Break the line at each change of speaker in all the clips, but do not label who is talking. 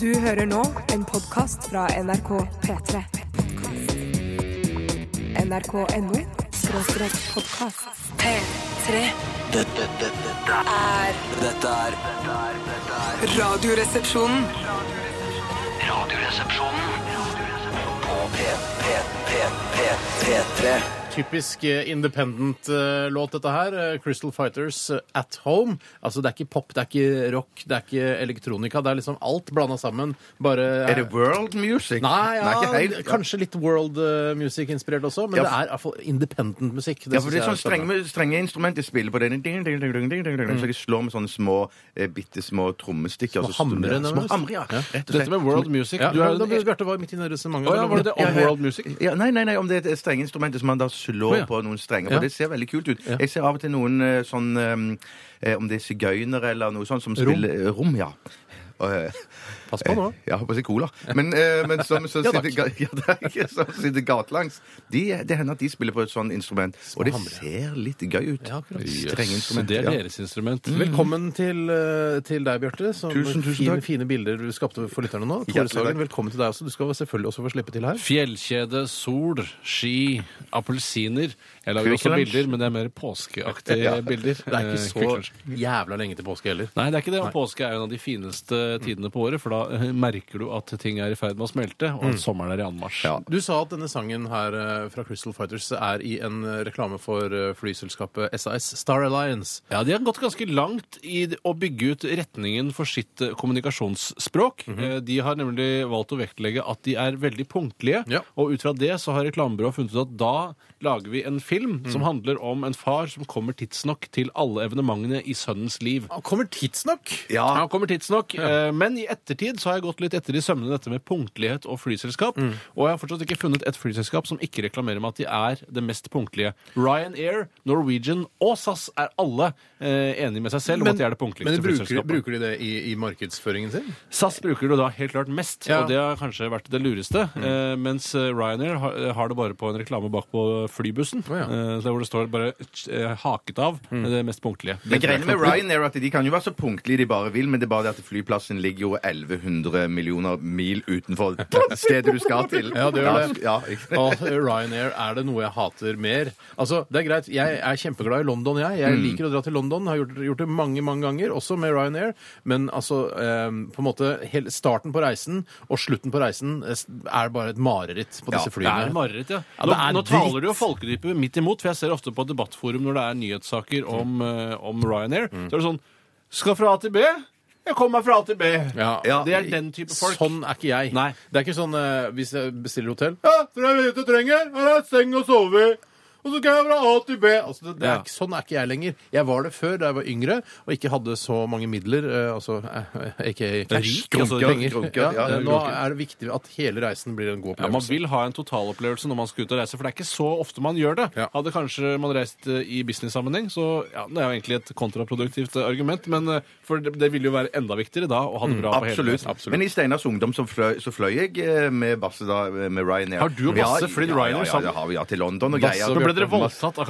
Du hører nå en podkast fra NRK P3. NRK.no skråstrek podkast. P3
Dette, dette, dette,
er
dette er dette er- dette er
Radioresepsjonen.
Radioresepsjonen på P, P, P, P, P3.
Typisk independent-låt, dette her. eh, Crystal Fighters eh, At Home. Altså, det er ikke pop, det er ikke rock, det er ikke elektronika. Det er liksom alt blanda sammen. Bare eh,
Er det world music?
Nei, ja,
ikke helt.
kanskje litt world eh, music-inspirert også, men
Ja,
det
for-
er i hvert fall independent musikk.
Ja, for det er sånn
synes jeg
strenge, strenge instrumenter spiller på den. Ding, ding, ding, ding, ding, ding, ding. Så de slår med sånne små, eh, bitte små trommestikker. og så
hamre,
studerer-
nærmest.
Små hamre, ja.
Ja.
Rett og slett.
Dette med world music
Ja,
du
men
er,
da, Bjarte var midt inne i resonnementet.
Å ja, var det det om world music?
Ja, nei, nei, nei, om det er et strengeinstrument som man da slår
Å, ja.
på noen strenger.
Ja.
For det ser veldig kult ut. Jeg ser av og til noen eh, sånn eh, Om det er sigøynere eller noe sånt som spiller Rom, ja. Og, eh,
Pass på nå.
Jeg har på å si cola. Men, eh, men som, som,
Ja,
sitter,
takk.
ga- ja, takk, som sitter gatelangs de, Det hender at de spiller på et sånt instrument. Og det ser litt gøy ut.
Ja, akkurat.
Strenge
Jøss,
instrument.
det er
ja.
deres instrument.
Velkommen til, eh, til deg, Bjarte. som
Tusen, tusen
fine,
takk.
fine bilder du skapte for lytterne nå. Tore
Hjertelig takk.
Sagen, velkommen til deg også. Du skal selvfølgelig også få slippe til her.
Fjellkjede, sol, ski, appelsiner. Jeg lager også
Kvikklunch.
bilder, men det er mer påskeaktige bilder.
Det er
Eh,
ikke
Kvikklunch.
så jævla lenge til påske heller.
Nei, det er ikke det. Og påske er jo en av de fineste tidene på året, for da eh, merker du at ting er i ferd med å smelte, og at sommeren er i anmarsj.
Ja.
Du sa at denne sangen her eh, fra Crystal Fighters er i en eh, reklame for eh, flyselskapet SAS Star Alliance.
Ja, De har gått ganske langt i å bygge ut retningen for sitt eh, kommunikasjonsspråk. Eh, De har nemlig valgt å vektlegge at de er veldig punktlige.
Ja.
Og ut fra det så har reklamebyrået funnet ut at da lager vi en film som handler om en far som kommer tidsnok til alle evenementene i sønnens liv.
Han kommer tidsnok!
Han kommer tidsnok. eh, Men i ettertid så har jeg gått litt etter i sømmene dette med punktlighet og flyselskap.
Mm.
Og jeg har fortsatt ikke funnet et flyselskap som ikke reklamerer med at de er det mest punktlige. Ryanair, Norwegian og SAS er alle eh, enige med seg selv om at de er det punktligste
men bruker,
flyselskapet.
bruker de det i, i markedsføringen sin?
SAS bruker det da helt klart mest,
Ja. Mm.
og det har kanskje vært det lureste. Eh, mens eh, Ryanair har, har det bare på en reklame bak på flybussen,
ja. Mm.
eh, der hvor det står bare eh, haket av det mest punktlige.
Men greiene med Ryanair er at de kan jo være så punktlige de bare vil, men det er bare det at flyplassen ligger jo 1100 millioner mil utenfor stedet du skal til.
Ja, det gjør det.
Ja, ikke sant?
Og Altså, Ryanair, er det noe jeg hater mer? Altså, Det er greit, jeg er kjempeglad i London, jeg. Jeg
Mm.
liker å dra til London, har gjort, gjort det mange mange ganger, også med Ryanair. Men altså, eh, på en måte, hele starten på reisen og slutten på reisen eh, er bare et mareritt på
Ja,
disse
Det er
flyene.
mareritt, ja.
Ja,
Nå,
det er
nå taler
dritt.
du jo folkedypet midt imot, for jeg ser ofte på debattforum når det er nyhetssaker om, eh, om Ryanair. Så er det sånn Skal fra A til B? Jeg kommer meg fra A til B.
Ja.
Ja.
Det er den type folk.
Sånn er ikke jeg.
Nei.
Det er ikke sånn eh, hvis jeg bestiller hotell Ja, for jeg vet jeg trenger Her er et seng å sove i. Og så kan jeg fra A til B. Altså, det, det er
Ja.
ikke, sånn er ikke jeg lenger. Jeg var det før da jeg var yngre og ikke hadde så mange midler. eh, altså eh, ikke cash.
Rik, altså,
penger.
grunker,
ja,
ja,
eh, nå
grunker.
er det viktig at hele reisen blir en god
Ja, Man
opplevelse.
vil ha en totalopplevelse når man skal ut og reise, for det er ikke så ofte man gjør det.
Ja.
Hadde kanskje man reist eh, i business-sammenheng, så ja, det er jo egentlig et kontraproduktivt eh, argument, men eh, for det, det ville jo være enda viktigere da å ha det bra på hele
Mm. Absolutt.
reisen.
Men i Steinars ungdom så fløy, så fløy jeg eh, med Basse da, eh, med Ryanair.
Har du og Basse flydd
ja, ja,
Ryanair
ja,
sammen?
det har vi, ja, til London og
Basse
greier.
og
Nå ble dere
Bjarte.
voldtatt av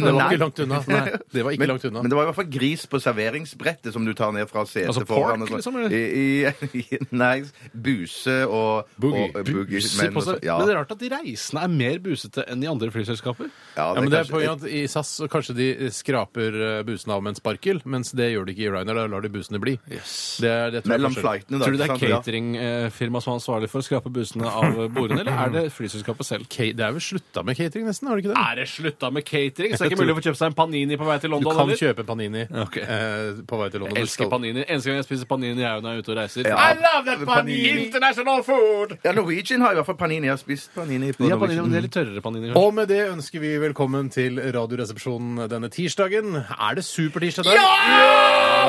Det var
Nei.
ikke langt unna. Nei, det var ikke langt unna.
Men det var i hvert fall gris på serveringsbrettet som du tar ned fra setet
Altså
foran.
pork,
og sånn.
liksom, eller?
I, i, nei, buse og
Boogie.
Og, eh, boogie,
Busser
men
på
også-
seg.
ja.
Men det er rart at de reisende er mer busete enn de andre flyselskaper.
Ja,
Ja, men det er
kanskje-
på grunn av at I SAS så kanskje de skraper eh, busene av med en sparkel, mens det gjør de ikke i Ryanair. Da lar de busene bli. Det er, det tror jeg er
Mellom
forskjellen.
flightene, da.
Tror du det
ikke
er
sant? Ja.
cateringfirma som er ansvarlig for å skrape busene av eh, bordene, eller er det flyselskapet selv?
Ka- Det er vel slutta med catering, nesten? har det ikke det?
Er det slutta med catering? Så det er ikke mulig å få kjøpt seg en panini på vei til
Du
London?
kan
eller?
kjøpe panini
Ok.
eh, på vei til London.
Jeg elsker panini. Eneste gang jeg spiser panini, er jo når jeg er ute og reiser.
Ja.
I love that panini!
Panini.
International food!
Ja, Norwegian har i hvert fall panini. Jeg har spist panini på
De har panini,
Norwegian.
men de er litt tørrere panini.
Og med det ønsker vi velkommen til Radioresepsjonen denne tirsdagen. Er det supertirsdag? i dag?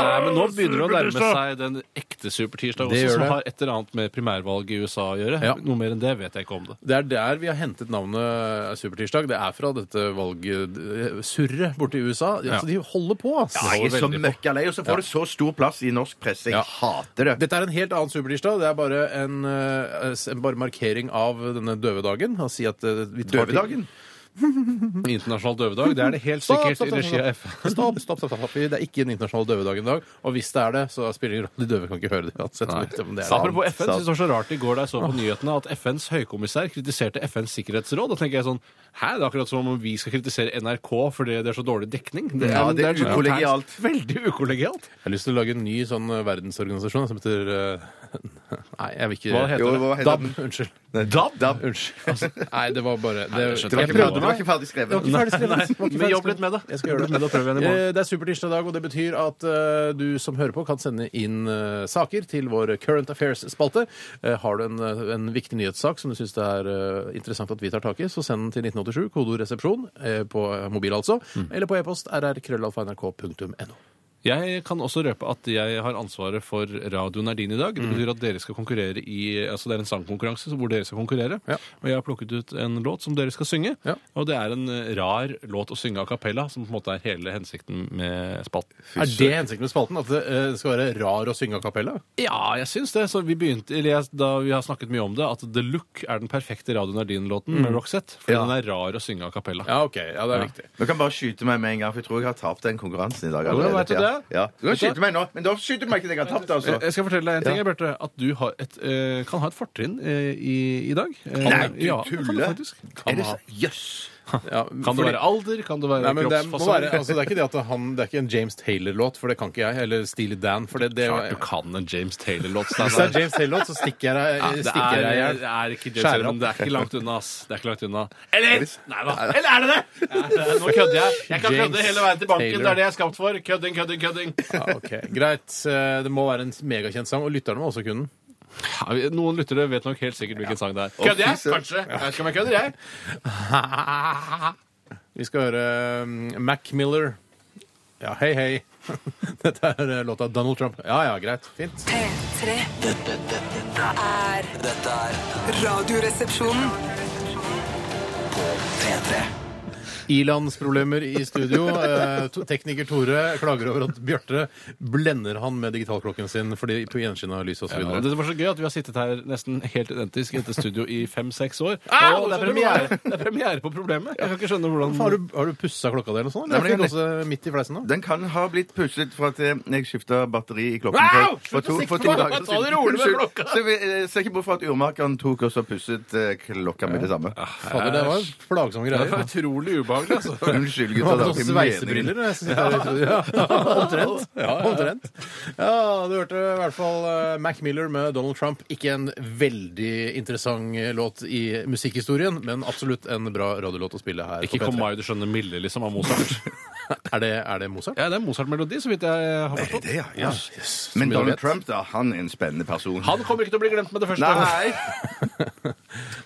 Nei, men nå begynner det å nærme seg den ekte supertirsdag
Det
også,
gjør
som
det.
har et eller annet med primærvalget i USA å gjøre.
Ja.
Noe mer enn det vet jeg ikke om det.
Det er der vi har hentet navnet eh, Supertirsdag. Det er fra dette valgsurret borte i USA. Altså, de holder på, ass.
Ja, jeg er så møkkalei, og så får det så stor plass i norsk presse. Jeg
Ja.
hater det.
Dette er en helt annen supertirsdag. Det er bare en, eh, s- en bare markering av denne døvedagen. Altså, si at, eh, vi tar til-
Døvedagen?
Internasjonal døvedag, det er det helt
Stopp,
sikkert i
stopp,
regi
stopp,
av FN.
stopp. Stopp, stopp, stopp, stopp. Det er ikke den internasjonale døvedagen i dag. Og hvis det er det, så spiller det ingen rolle. De døve kan ikke høre det uansett.
Nei.
Men det er det.
Apropos FN,
sant.
synes det var så rart i går da jeg så på nyhetene at FNs høykommissær kritiserte FNs sikkerhetsråd. Da tenker jeg sånn Hæ, det er akkurat som om vi skal kritisere NRK fordi det er så dårlig dekning. Det er,
Ja, det er
en-
ukollegialt.
Veldig ukollegialt.
Jeg har lyst til å lage en ny sånn eh, verdensorganisasjon som heter eh, Nei, jeg vil ikke
Hva heter
Jo, hva heter
det?
DAB.
den?
Unnskyld.
Nei, DAB?
Unnskyld.
Altså,
Nei, det var bare det,
det skjønte
Det var
Jeg prøvde
ikke ferdig- det var
meg.
ikke ferdig skrevet.
Det var ikke ferdig skrevet.
Nei,
Det var ikke
men
ferdig
jobb litt med det.
Jeg skal gjøre det.
Jobb litt med det og prøve igjen i morgen.
Eh, Det er supertirsdag i dag, og det betyr at eh, du som hører på, kan sende inn eh, saker til vår Current Affairs-spalte. Eh, Har du en, eh, en viktig nyhetssak som du syns det er eh, interessant at vi tar tak i, så send den til 1987, kodeord resepsjon, eh, på mobil altså, eller på e-post rrkrøllalfa.nrk.no.
Jeg kan også røpe at jeg har ansvaret for Radio Nerdin i dag. Det betyr at dere skal konkurrere i Altså det er en sangkonkurranse hvor dere skal konkurrere.
Ja.
Og jeg har plukket ut en låt som dere skal synge.
Ja.
Og det er en eh, rar låt å synge a cappella, som på en måte er hele hensikten med spalten.
Er det hensikten med spalten? At det eh, skal være rar å synge a cappella?
Ja, jeg syns det. Så vi begynte, eller jeg, da vi har snakket mye om det, at The Look er den perfekte Radio Nardin-låten med Roxette. Fordi
Ja.
den er rar å synge a cappella.
Ja, OK. Ja, det er viktig.
Du kan bare skyte meg med en gang, for jeg tror jeg har tapt den konkurransen i dag.
vet du Eh,
Ja.
det?
Ja. Du kan skyte meg nå, men da skyter du meg ikke. Jeg har tapt, altså.
Jeg skal fortelle deg en
Ja.
ting, Bjarte. At du har et, eh, kan ha et fortrinn eh, i, i dag. Eh,
Nei, du
ja, det Kan,
tuller.
du faktisk.
Er det
ha.
så- Jøss!
Ja,
Kan det
fordi-
være alder? Kan det være
Nei, men det, må
kroppsfasong?
være, altså, det er ikke det at han, det er ikke en James Taylor-låt, for det kan ikke jeg. Eller Steely Dan. For det, det,
Klart du kan en James Taylor-låt.
hvis det er Altså, James Taylor-låt, så stikker jeg deg
Ja,
i
det,
stikker jeg i
er,
hjel.
det er ikke James
Skjærer
Taylor,
opp.
men det er ikke langt unna. ass. Det er ikke langt unna. Eller! Nei da. Eller er det det? Ja, det er- nå kødder jeg. Jeg kan
James
kødde hele veien til banken.
Taylor.
Det er det jeg er skapt for. Kødding, kødding, kødding.
Ja, ok, Greit. Eh, Det må være en megakjent sang, og lytterne må også kunne den.
Ja, vi- noen lyttere vet nok helt sikkert hvilken sang det er. Kødder jeg? Kanskje. Jeg vet ikke om jeg kødder, jeg.
Vi skal høre um, Mac Miller. Ja, hei, hei. Dette er eh, låta Donald Trump. Ja ja, greit. Fint.
P3
Dette, dette, dette,
er
er- dette er
Radioresepsjonen.
P3.
Ilans problemer i studio. Eh, to- Tekniker Tore klager over at Bjarte blender han med digitalklokken sin fordi på gjenskinn av lys og så
Ja,
videre
det var så gøy at vi har sittet her nesten helt identisk i dette studio i fem-seks år.
Ah,
Og det er, premiere, det er premiere på problemet. Jeg kan ikke skjønne hvordan
Har du, har du pussa klokka di eller noe sånt? Eller
Nei,
fikk
men
du også midt i fleisen nå?
Den kan ha blitt puslet for at eh, jeg skifta batteri i klokken
Au!
for, for
Slutt å
to,
sikte
for
på
to
meg!
dager
Ta det rolig med klokka!
så vi eh, ser ikke bort fra at urmakeren tok oss og pusset eh, klokka med det samme.
Fader, det var plagsomme
Det
greier.
var utrolig ubehagelig, altså.
Unnskyld,
Det
gutta.
var
det var
sånn
ikke meningen.
sveisebriller. når jeg sitter her i studio. Ja, omtrent. Ja, omtrent. Ja, du hørte i hvert fall eh, Mac Miller med Donald Trump. Ikke en veldig interessant eh, låt i musikkhistorien, men absolutt en bra radiolåt å spille her.
Ikke
på
kom
P3.
meg du skjønner milde, liksom, av Mozart.
Er det, er det Mozart?
Ja, det er Mozart-melodi, så vidt jeg har
Er det
forstått.
det, ja? ja.
Yes.
Men
Som vi
Donald
vet.
Trump, da, han er en spennende person.
Han kommer ikke til å bli glemt med det første.
Nei!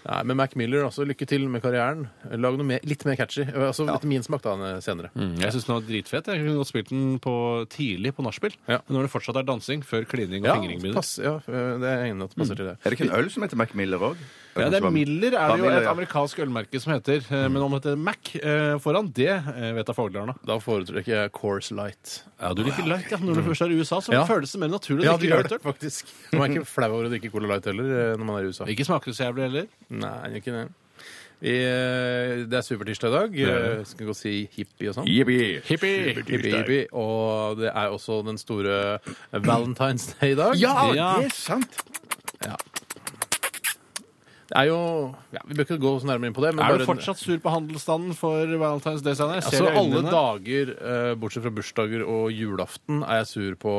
Nei, men Mac Miller, altså, lykke til med karrieren. Lag noe mer, litt mer catchy. Eh, Altså, Litt min smak da, eh, senere.
Mm, Jeg syns den var dritfett. Jeg kunne godt spilt den på, tidlig på nachspiel.
Ja.
Men Når det fortsatt er dansing før klining og
Ja,
fingring begynner.
pass, ja, eh, det er jeg enig i at passer til det.
Er det ikke en øl som heter Mac Miller òg?
Ja, det er Miller er det jo
Miller,
et
ja.
amerikansk ølmerke som heter. eh, Men om det heter Mac eh, foran, det eh, vet jeg faglærerne.
Da foretrekker jeg Course Light.
Ja, du liker light, ja. Når du først er i USA, så
Ja.
føles det mer naturlig
Ja,
å
det
drikke
gjør
light
det
øl.
faktisk. Man er ikke flau over å drikke Cola Light heller eh, når man er i USA.
Ikke smaker det så jævlig heller.
Nei, det er ikke det. Vi, eh, det er supertirsdag i dag. Eh, Skal vi gå og si hippie og sånn?
Yippie.
Hippie!
Hippie, hippie. Og det er også den store Valentine's Day i dag.
Ja,
Ja.
det er sant!
Det er jo ja, Vi bør ikke gå så nærmere inn på det. Men
Er
bare
du fortsatt sur på handelsstanden for Valentine's Day? Steinar? Jeg ser
Altså,
det i øynene
alle
dine.
dager, eh, bortsett fra bursdager og julaften, er jeg sur på,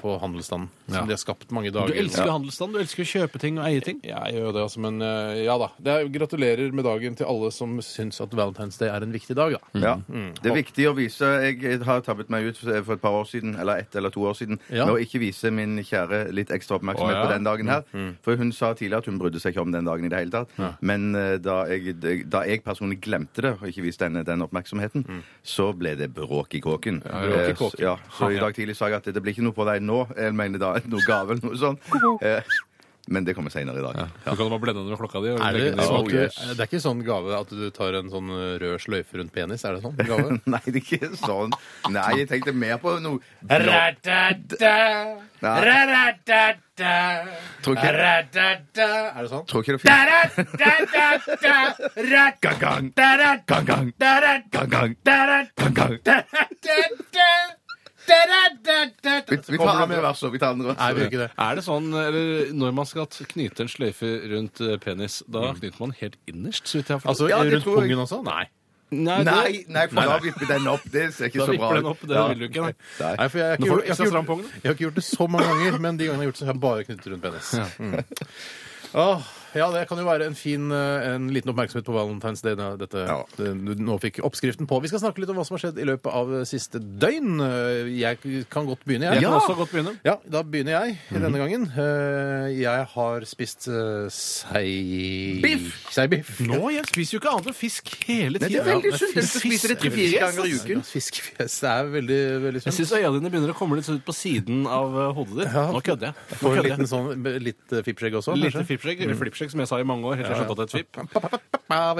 på handelsstanden.
Ja.
Som de har skapt mange dager.
Du elsker jo handelsstand. Du elsker å kjøpe ting og eie ting.
Jeg gjør jo det, altså, men eh, ja da. Det er, gratulerer med dagen til alle som syns at Valentine's Day er en viktig dag, da.
Mm.
Ja.
Mm.
Det er viktig å vise Jeg har tabbet meg ut for et par år siden, eller ett eller to år siden,
Ja.
med å ikke vise min kjære litt ekstra oppmerksomhet
Å, ja.
på den dagen her.
Mm,
For hun sa tidligere at hun brydde seg ikke om den dagen i det hele tatt. Men eh, da jeg, da jeg personlig glemte det, og ikke viste henne den oppmerksomheten, så ble det bråk i kåken.
Mm. bråk i
Eh,
kåken.
s- ja, så i dag tidlig sa jeg at det blir ikke noe på deg nå. Jeg mener da noe gave eller noe sånt. Eh, Men det kommer seinere i dag.
Du kan jo bare blende den med klokka di. og
Er det,
legge den i-
sånn at
Oh,
du,
yes.
det er ikke sånn gave at du tar en sånn rød sløyfe rundt penis? Er det sånn gave?
Nei, det er ikke sånn. Nei, jeg tenkte mer på noe Nei. Tror ikke-
Er det sånn?
Tror ikke det finnes Gang-gang. Gang-gang. Gang-gang. Gang-gang. Vi, vi tar andre verset. Vi tar andre
Nei, vi gjør
verset.
ikke det.
Er det sånn, eller Når man skal knyte en sløyfe rundt eh, penis, da knyter man helt innerst? så vidt jeg har forstått.
Mm. Altså
Ja, det
rundt
tror jeg.
pungen også? Nei.
Nei,
Nei, nei, for da vipper den opp. Det ser ikke
Da
så bra
vipper den opp. Det
Ja.
vil du ikke. Nei.
Nei.
Nei, for jeg, har ikke
Nå får du
gjort- jeg,
ekstra
har ikke
stram pungen,
gjort, jeg har ikke gjort det så mange ganger, men de gangene jeg har gjort det, så har jeg bare knyttet rundt penis. Mm. Åh, ja, det kan jo være en fin eh, en liten oppmerksomhet på Valentine's Day. da, Dette,
Ja.
det, du nå fikk oppskriften på. Vi skal snakke litt om hva som har skjedd i løpet av eh, siste døgn. Eh, Jeg kan godt begynne,
Jeg
jeg.
kan også godt begynne. Mhm.
Ja, da begynner jeg denne gangen. Eh, Jeg har spist eh, sei...
Biff!
Seibiff.
Nå, jeg spiser jo ikke annet enn fisk hele tiden.
Nei, det er veldig sunt. Du spiser det tre-fire ganger i uken.
Fiskefjes det er veldig, veldig
Jeg
sunt.
syns øya dine begynner å komme litt sånn ut på siden av eh, hodet ditt. Nå kødder jeg. Nå
Får en
kødder jeg.
liten sånn, litt eh, fippskjegg også,
Lite
kanskje? Mm.
flippskjegg, eller flippskjegg, som jeg sa i mange år. Helt til jeg sluttet å ta et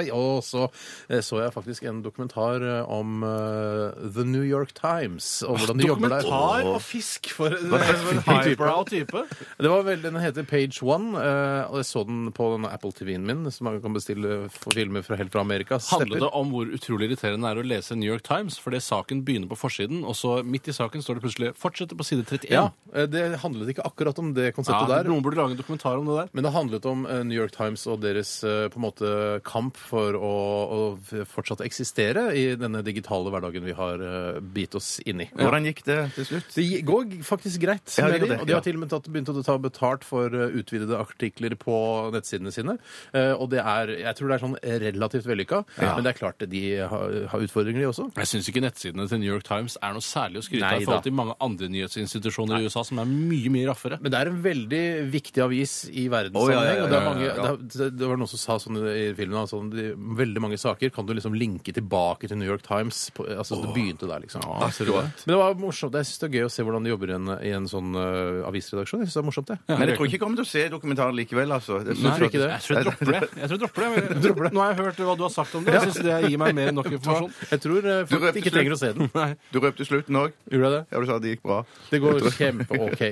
flipp.
Og så eh, så jeg faktisk en dokumentar eh, om eh, The New York Times, og hvordan de jobber der.
Ah, Dokumentar og fisk for en for en highbrow type.
Det var veldig, Den heter Page One, eh, og jeg så den på den Apple TV-en min, som man kan bestille for filmer fra, helt fra Amerika.
Handler det om hvor utrolig irriterende det er å lese New York Times? Fordi saken begynner på forsiden, og så midt i saken står det plutselig 'fortsette på side 31'.
Ja, eh, det handlet ikke akkurat om det
Ja,
konseptet der.
Noen burde lage en dokumentar om det der.
Men det handlet om eh, New York Times og deres eh, på en måte kamp for å, å f- fortsatt eksistere i denne digitale hverdagen vi har eh, bitt oss inn i.
Hvordan gikk det til slutt?
Det gi- går g- faktisk greit
Ja,
med
det gjør
de,
det,
og de har
ja.
til og med tatt, begynt å ta betalt for eh, utvidede artikler på nettsidene sine. Eh, Og det er, jeg tror det er sånn relativt vellykka, men det er klart at de har, har utfordringer, de også.
Jeg syns ikke nettsidene til New York Times er noe særlig å skryte
Nei
av i forhold
da.
til mange andre nyhetsinstitusjoner i USA som er mye, mye raffere.
Men det er en veldig viktig avis i
Å, ja,
verdenssammenheng.
ja,
og det, er
ja,
mange,
ja, ja.
Det, er- det var noen som sa sånn i filmen altså, de, Veldig mange saker kan du liksom linke tilbake til New York Times. På, altså, Det begynte der, liksom.
Ah, Akkurat.
Men det var morsomt. Jeg synes det er gøy å se hvordan de jobber i en, i en sånn eh, avisredaksjon. Jeg synes det er morsomt, det.
Men jeg tror ikke jeg kommer til å se dokumentaren likevel, altså. Det synes
Nei, tror
jeg-
ikke det.
Jeg tror jeg dropper det. Jeg tror jeg dropper det. men- Nå har jeg hørt hva du har sagt om det. Jeg syns det gir meg mer enn nok informasjon.
Jeg tror eh, folk
røpte
ikke trenger å se den.
Du røpte slutten òg.
Gjorde jeg det?
Ja, du sa det gikk bra.
Det går kjempe-OK.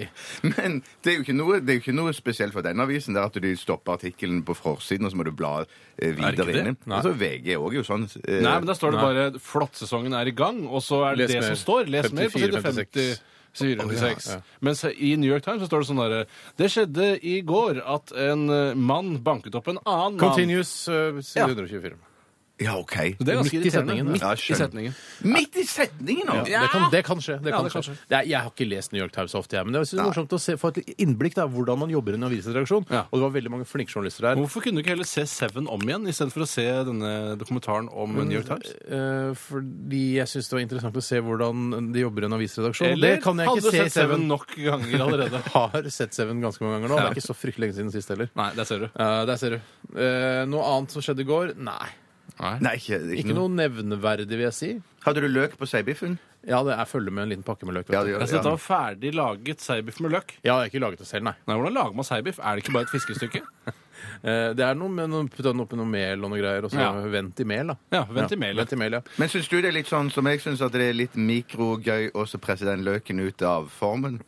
Men det er jo ikke noe, det er jo ikke noe spesielt for den avisen. Det er at de stopper artikkelen på forsiden, og så må du bla eh,
Er det ikke
videre
det?
inn.
Nei.
Altså, VG er også jo sånn. eh,
Nei, men da står det bare 'flåttsesongen er i gang', og så er det
Les
det
mer.
som står. Les mer på
54,
side 50.
Å,
56.
ja, ja.
Mens i New York Times så står det sånn derre Det skjedde i går at en eh, mann banket opp en annen mann.
Continuous eh,
Ja.
side 124.
Ja, OK.
Det er
Midt
ganske
i
irriterende.
setningen, ja.
Midt
Ja,
i
skjønner.
setningen.
Midt i setningen nå!
Ja, det, kan, det kan skje. Det
Ja,
kan
det kan
skje.
skje.
Det er, jeg har ikke lest New York Times så ofte, jeg, men det er morsomt å se, få et innblikk i hvordan man jobber i en avisredaksjon.
Ja.
Og det var veldig mange flinke journalister der.
Hvorfor kunne du ikke heller se Seven om igjen, istedenfor å se denne dokumentaren om New York Times?
Eh, fordi jeg syns det var interessant å se hvordan de jobber i en avisredaksjon. og
Eller
eh, det kan jeg
hadde du
ikke se i
sett
Seven.
Seven nok ganger allerede?
Har sett Seven ganske mange ganger nå. Det er ikke så fryktelig lenge siden sist heller.
Nei, der ser du.
Eh, der ser du. Eh, noe annet som skjedde i går? Nei.
Nei, ikke, ikke,
Ikke
noe.
noe nevneverdig, vil jeg si.
Hadde du løk på seibiffen?
Ja, det er følge med en liten pakke med løk. vet du.
Ja, det gjør
Jeg
det.
synes det
Ja.
var ferdig laget seibiff med løk.
Ja, jeg har ikke laget det selv, nei.
Nei, Hvordan lager man seibiff? Er det ikke bare et fiskestykke?
Eh, det er noe med å putte den oppi noe mel og noe greier, og så
Ja.
vent i mel, da.
Ja, vent i melet.
Vent i mel, ja.
Men syns du det er litt sånn som jeg syns, at det er litt mikrogøy å så presse den løken ut av formen?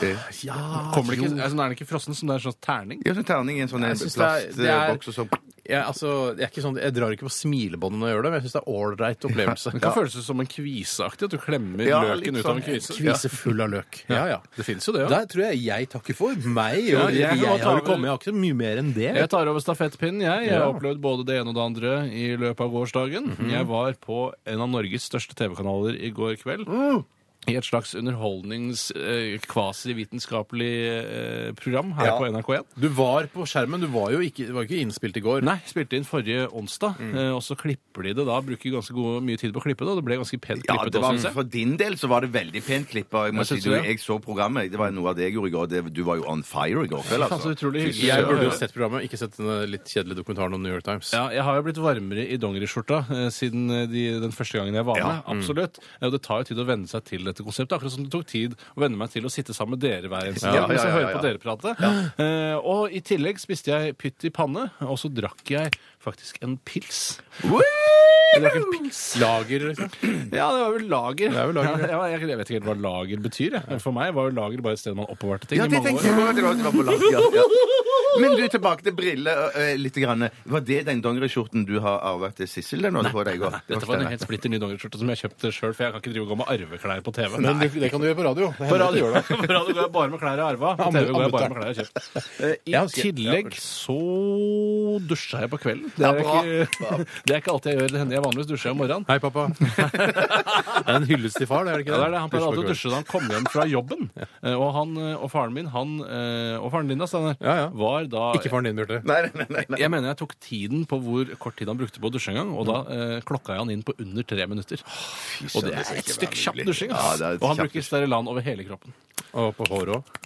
Eh,
Kommer det ikke, altså, er den ikke frossen som det er en sånn terning?
Ja, sånn terning i en sånn
Jeg synes det er- det er-
plastboks eh, og så
Jeg, altså, jeg, er ikke sånn, jeg drar ikke på smilebåndet når jeg gjør det, men jeg syns det er ålreit opplevelse.
Det kan føles ut som en kviseaktig, at du klemmer
Ja, litt
løken ut av
sånn.
en kvise.
Kvise full av løk. Ja, ja.
Det fins jo det, ja.
Der tror jeg jeg takker for meg.
Ja,
Og
jeg kan
jeg,
godt
jeg,
ta
har
over-
kommet, jeg har ikke så mye mer enn det.
Jeg tar over stafettpinnen, jeg. Jeg har
Ja.
opplevd både det ene og det andre i løpet av gårsdagen. Jeg var på en av Norges største TV-kanaler i går kveld. I et slags underholdnings-, eh, kvasivitenskapelig eh, program her på NRK1.
Du var på skjermen, du var jo ikke, det var ikke innspilt i går.
Nei, spilte inn forrige onsdag, eh, og så klipper de det da. Bruker ganske god, mye tid på å klippe det, og det ble ganske pent
Ja,
klippet
det
også,
var,
synes jeg.
for din del så var det veldig pent klippa. Jeg, må
Jeg
si,
synes
du,
det.
jeg så programmet. Det var noe av det jeg gjorde i går. Det, du var jo on fire i går kveld,
Faen, så
altså.
utrolig hyggelig.
Jeg
å
burde jo
høre.
sett programmet, ikke sett den litt kjedelige dokumentaren om New York Times.
Ja, jeg har jo blitt
mm.
varmere i dongeriskjorta eh, siden eh, de, den første gangen jeg var med. Absolutt. Eh, Og det tar jo tid å venne seg til dette konseptet. Akkurat som det tok tid å venne meg til å sitte sammen med dere hver eneste
Ja, ja,
dag. mens jeg
ja,
hører
ja, ja.
på dere prate. Eh, og i tillegg spiste jeg pytt i panne, og så drakk jeg faktisk en pils. Jeg drakk en pils.
Lager, liksom.
Ja, det var vel lager.
er vel lager,
ja. jeg, jeg vet ikke helt hva lager betyr. Jeg. For meg var jo lager bare et sted man oppbevarte ting
Ja,
i
det
mange
tenkte jeg
år.
på. Det var, det var på lag, ja, ja. Men du, tilbake til briller øh, øh, litt. Grann. Var det den dongeriskjorten du har arvet til Sissel? Den holdt på deg i går?
Dette var en helt splitter ny dongeriskjorte som jeg kjøpte sjøl, for jeg kan ikke drive og gå med arveklær på TV.
Men det, det kan du gjøre på radio. Det
På
hender du
radio,
gjør det.
på radio går jeg bare med klær jeg har arva. På
Ambu-
TV går jeg bare
ambutter.
med klær jeg har kjøpt. Eh, I
Ja, ok.
tillegg så dusja jeg på kvelden. Det
Ja,
er,
bra.
ikke, det er ikke alltid jeg gjør. Det hender jeg vanligvis dusjer om morgenen.
Hei, pappa. Det er en hyllest til far, det er det ikke
Ja, det er det. Han
Dusj
pleier
på
alltid å
kvelden.
dusje da han kom hjem fra jobben. Eh, Og han eh, og faren min, han eh, og faren din da, Steinar,
Ja, ja.
var da
Ikke faren din, Bjarte.
Nei, nei, nei, nei.
Jeg mener jeg tok tiden på hvor kort tid han brukte på å dusje en gang, og da eh, klokka jeg han inn på under tre minutter. Og
søren,
det
det
er
skal
et
ikke
stykk
være
kjapp
mulig.
dusjing,
Ja,
ass.
det er et
Og han
kjapp
bruker Sterilan over hele kroppen.
Og på håret òg.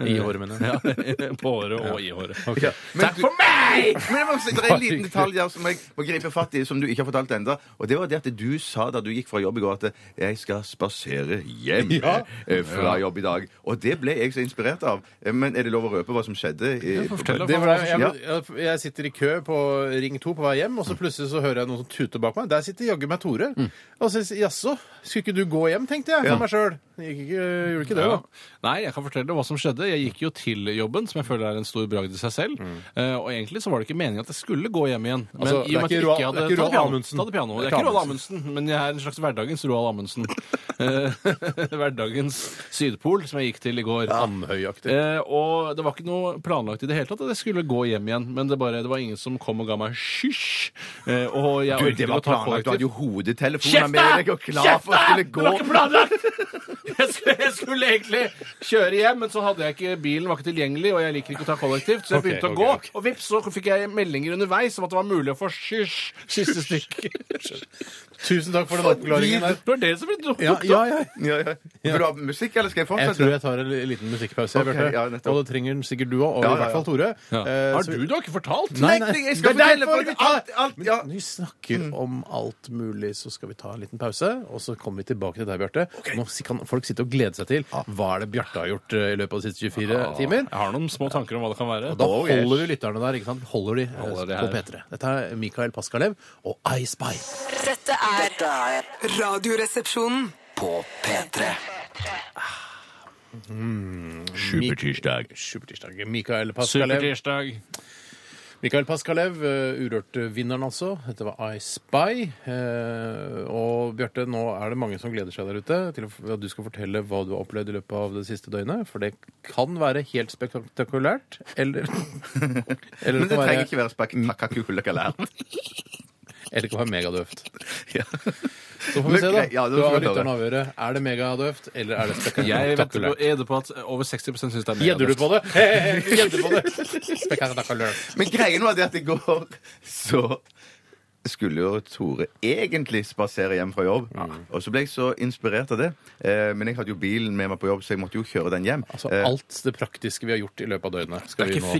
I håret, mener jeg.
Ja, på håret og i håret.
Ok.
Men
Takk
du-
for meg!
Men jeg må si, det er en liten detalj der som jeg må gripe fatt i, som du ikke har fortalt ennå. Og det var det at du sa da du gikk fra jobb i går, at 'jeg skal spasere hjem
Ja.
eh, fra jobb i dag'. Og det ble jeg så inspirert av. Eh, Men er det lov å røpe hva som skjedde? i-
fortell da.
Det var, jeg, jeg, jeg sitter i kø på Ring 2 på vei hjem,
Mm.
og så plutselig så hører jeg noen som tuter bak meg. Der sitter jaggu meg Tore. Og så sier jeg, jaså, skulle ikke du gå hjem, tenkte jeg for meg sjøl. Gjorde ikke det, da.
Nei, jeg kan fortelle deg hva som skjedde. Jeg gikk jo til jobben, som jeg føler er en stor bragd i seg selv. Eh, og egentlig så var det ikke meningen at jeg skulle gå hjem igjen. Men
Mm. Altså, det
i og med at
er
jeg
ikke Roald-
ikke hadde
det er ikke Roald
tatt piano,
Amundsen.
tatt piano. Det er
Det er
ikke
ikke
Roald Amundsen, men jeg er en slags hverdagens Roald Amundsen. Eh, hverdagens Sydpol, som jeg gikk til i går.
Andhøyaktig.
Eh, og det var ikke noe planlagt i det hele tatt at jeg skulle gå hjem igjen. Men det, bare, det var ingen som kom og ga meg hysj. Eh, og jeg
Du,
orket
det
ikke
var
å ta
planlagt. Du hadde jo hodetelefoner
Kjeft,
med
da!
deg og klar for å skulle
Det var
gå.
ikke planlagt! Jeg skulle, jeg skulle egentlig kjøre hjem, men så hadde jeg ikke bilen var ikke tilgjengelig, og jeg liker ikke å ta kollektivt, så jeg
Ok,
begynte
ok,
å gå.
ok.
Og vips, så fikk jeg meldinger underveis om at det var mulig å få hysj siste stykk.
Tusen takk for den oppklaringen der.
Det var dere som ble dukket
Ja,
opp.
ja, ja.
Ja, ja. Vil du ha musikk, eller skal
Jeg
jeg fortsette?
tror jeg tar en liten musikkpause.
Ok,
Bjarte.
ja, nettopp.
og det trenger den sikkert du òg, og
Ja, ja,
i hvert fall Tore. Eh,
Har
så
du
vi-
det har ikke fortalt?
Nei,
Nei,
nei.
jeg skal
Det er
fortelle
derfor
folk
vi tar-
alt, alt ja.
Vi snakker
Mm.
om alt mulig, så skal vi ta en liten pause. Og så kommer vi tilbake til deg, Bjarte. Nå si- kan folk sitte og glede seg til hva er det Bjarte har gjort eh, i løpet av de siste 24 timer.
Jeg har noen små tanker om hva det kan være.
Og da
Oh, yes.
holder vi lytterne der, ikke sant? Holder de, eh,
Holder de
på
her.
P3. Dette er Mikael Paskalev og I Spy.
Dette er
Dette er
Radioresepsjonen.
på P3.
Supertirsdag.
Supertirsdag. Mikael Paskalev.
Supertirsdag.
Mikael Paskalev, eh, Urørt-vinneren altså. Dette var I Spy. Eh, og Bjarte, nå er det mange som gleder seg der ute til at du skal fortelle hva du har opplevd i løpet av det siste døgnet. For det kan være helt spektakulært, eller Eller
Men
det
det
kan
trenger
være,
ikke være spektakulært.
eller det kan være megadøvt.
Ja.
Så får vi
Men
se, da.
greit, ja, det
du
får
har
vi ta det.
lytteren å avgjøre. Er det megadøvt, eller er det
Jeg vet på,
spektakulært?
er det på at over 60 syns det er mer
Gjedder du
adopsjon?
på det? Gjedder du på det? Spektakulært.
Men greien var det at i går så skulle jo Tore egentlig spasere hjem fra jobb. Og så ble jeg så inspirert av det. Eh, men jeg hadde jo bilen med meg på jobb, så jeg måtte jo kjøre den hjem.
Altså
Eh,
alt det praktiske vi har gjort i løpet av døgnet,
Det
skal
er
vi
ikke
nå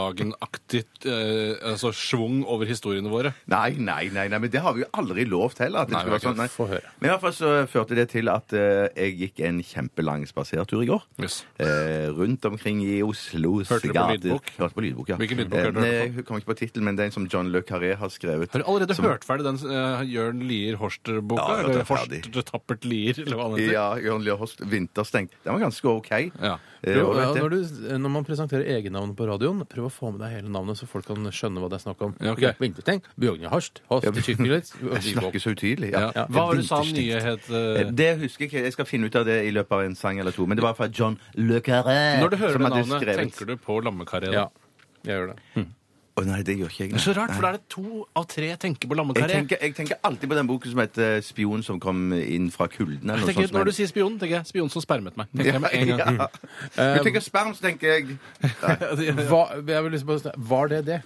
frigjøringsdagen-aktig eh, altså, svung over historiene våre.
Nei, nei, nei, nei, men det har vi jo aldri lovt heller. At det
Nei,
skulle
ok,
være sånn, nei.
altså, få høre.
Men i hvert fall så førte det til at eh, jeg gikk en kjempelang spasertur i går.
Yes.
Eh, rundt omkring i Oslos
Hørte du på
gater.
lydbok?
Hørte på lydbok, ja.
Hvilken lydbok
Eh,
hørte du
nei,
på?
Jeg kommer ikke på tittelen, men det er en som John Le Carré har skrevet.
Har du allerede hørt ferdig den uh, Jørn Lier Horster-boka?
Ja, jeg har hørt
eller
den ferdig.
Horster Tappert Lier, eller hva den heter?
Ja, Jørn Lier Horst, 'Vinterstengt'. Den var ganske OK.
Ja.
Eh,
Prøv,
og
ja,
vet
når,
du-
du, når man presenterer egennavnet på radioen, prøv å få med deg hele navnet, så folk kan skjønne hva det er snakk om.
Ja, ok.
Det er Vintersteng, Bjørgne Harst, Hast, Kykkelitz,
Jeg snakker så utydelig.
Ja.
Ja.
Hva var det du sa nye
Vinterstengt.
het eh,
Eh, Det husker jeg ikke. Jeg skal finne ut av det i løpet av en sang eller to. Men det var fra John Le Carré.
Når du hører
som
det
hadde
navnet,
skrevet-
tenker du på
sånn.
lammekaré? da?
Ja, jeg gjør det.
Å nei, det gjør ikke jeg.
Det
nei.
er så rart, for da er det to av tre tenker på
Jeg
lammekaré.
tenker, jeg tenker alltid på den boken som heter eh, 'Spion som kom inn fra kulden'. Eller
Jeg
noe
tenker,
sånt sånn som
når du
er-
sier spion, tenker jeg spion som spermet meg. Tenker jeg med en gang.
Ja. Mm. Du tenker sperm, så tenker jeg
Hva, jeg vil liksom bare snakke, var det det?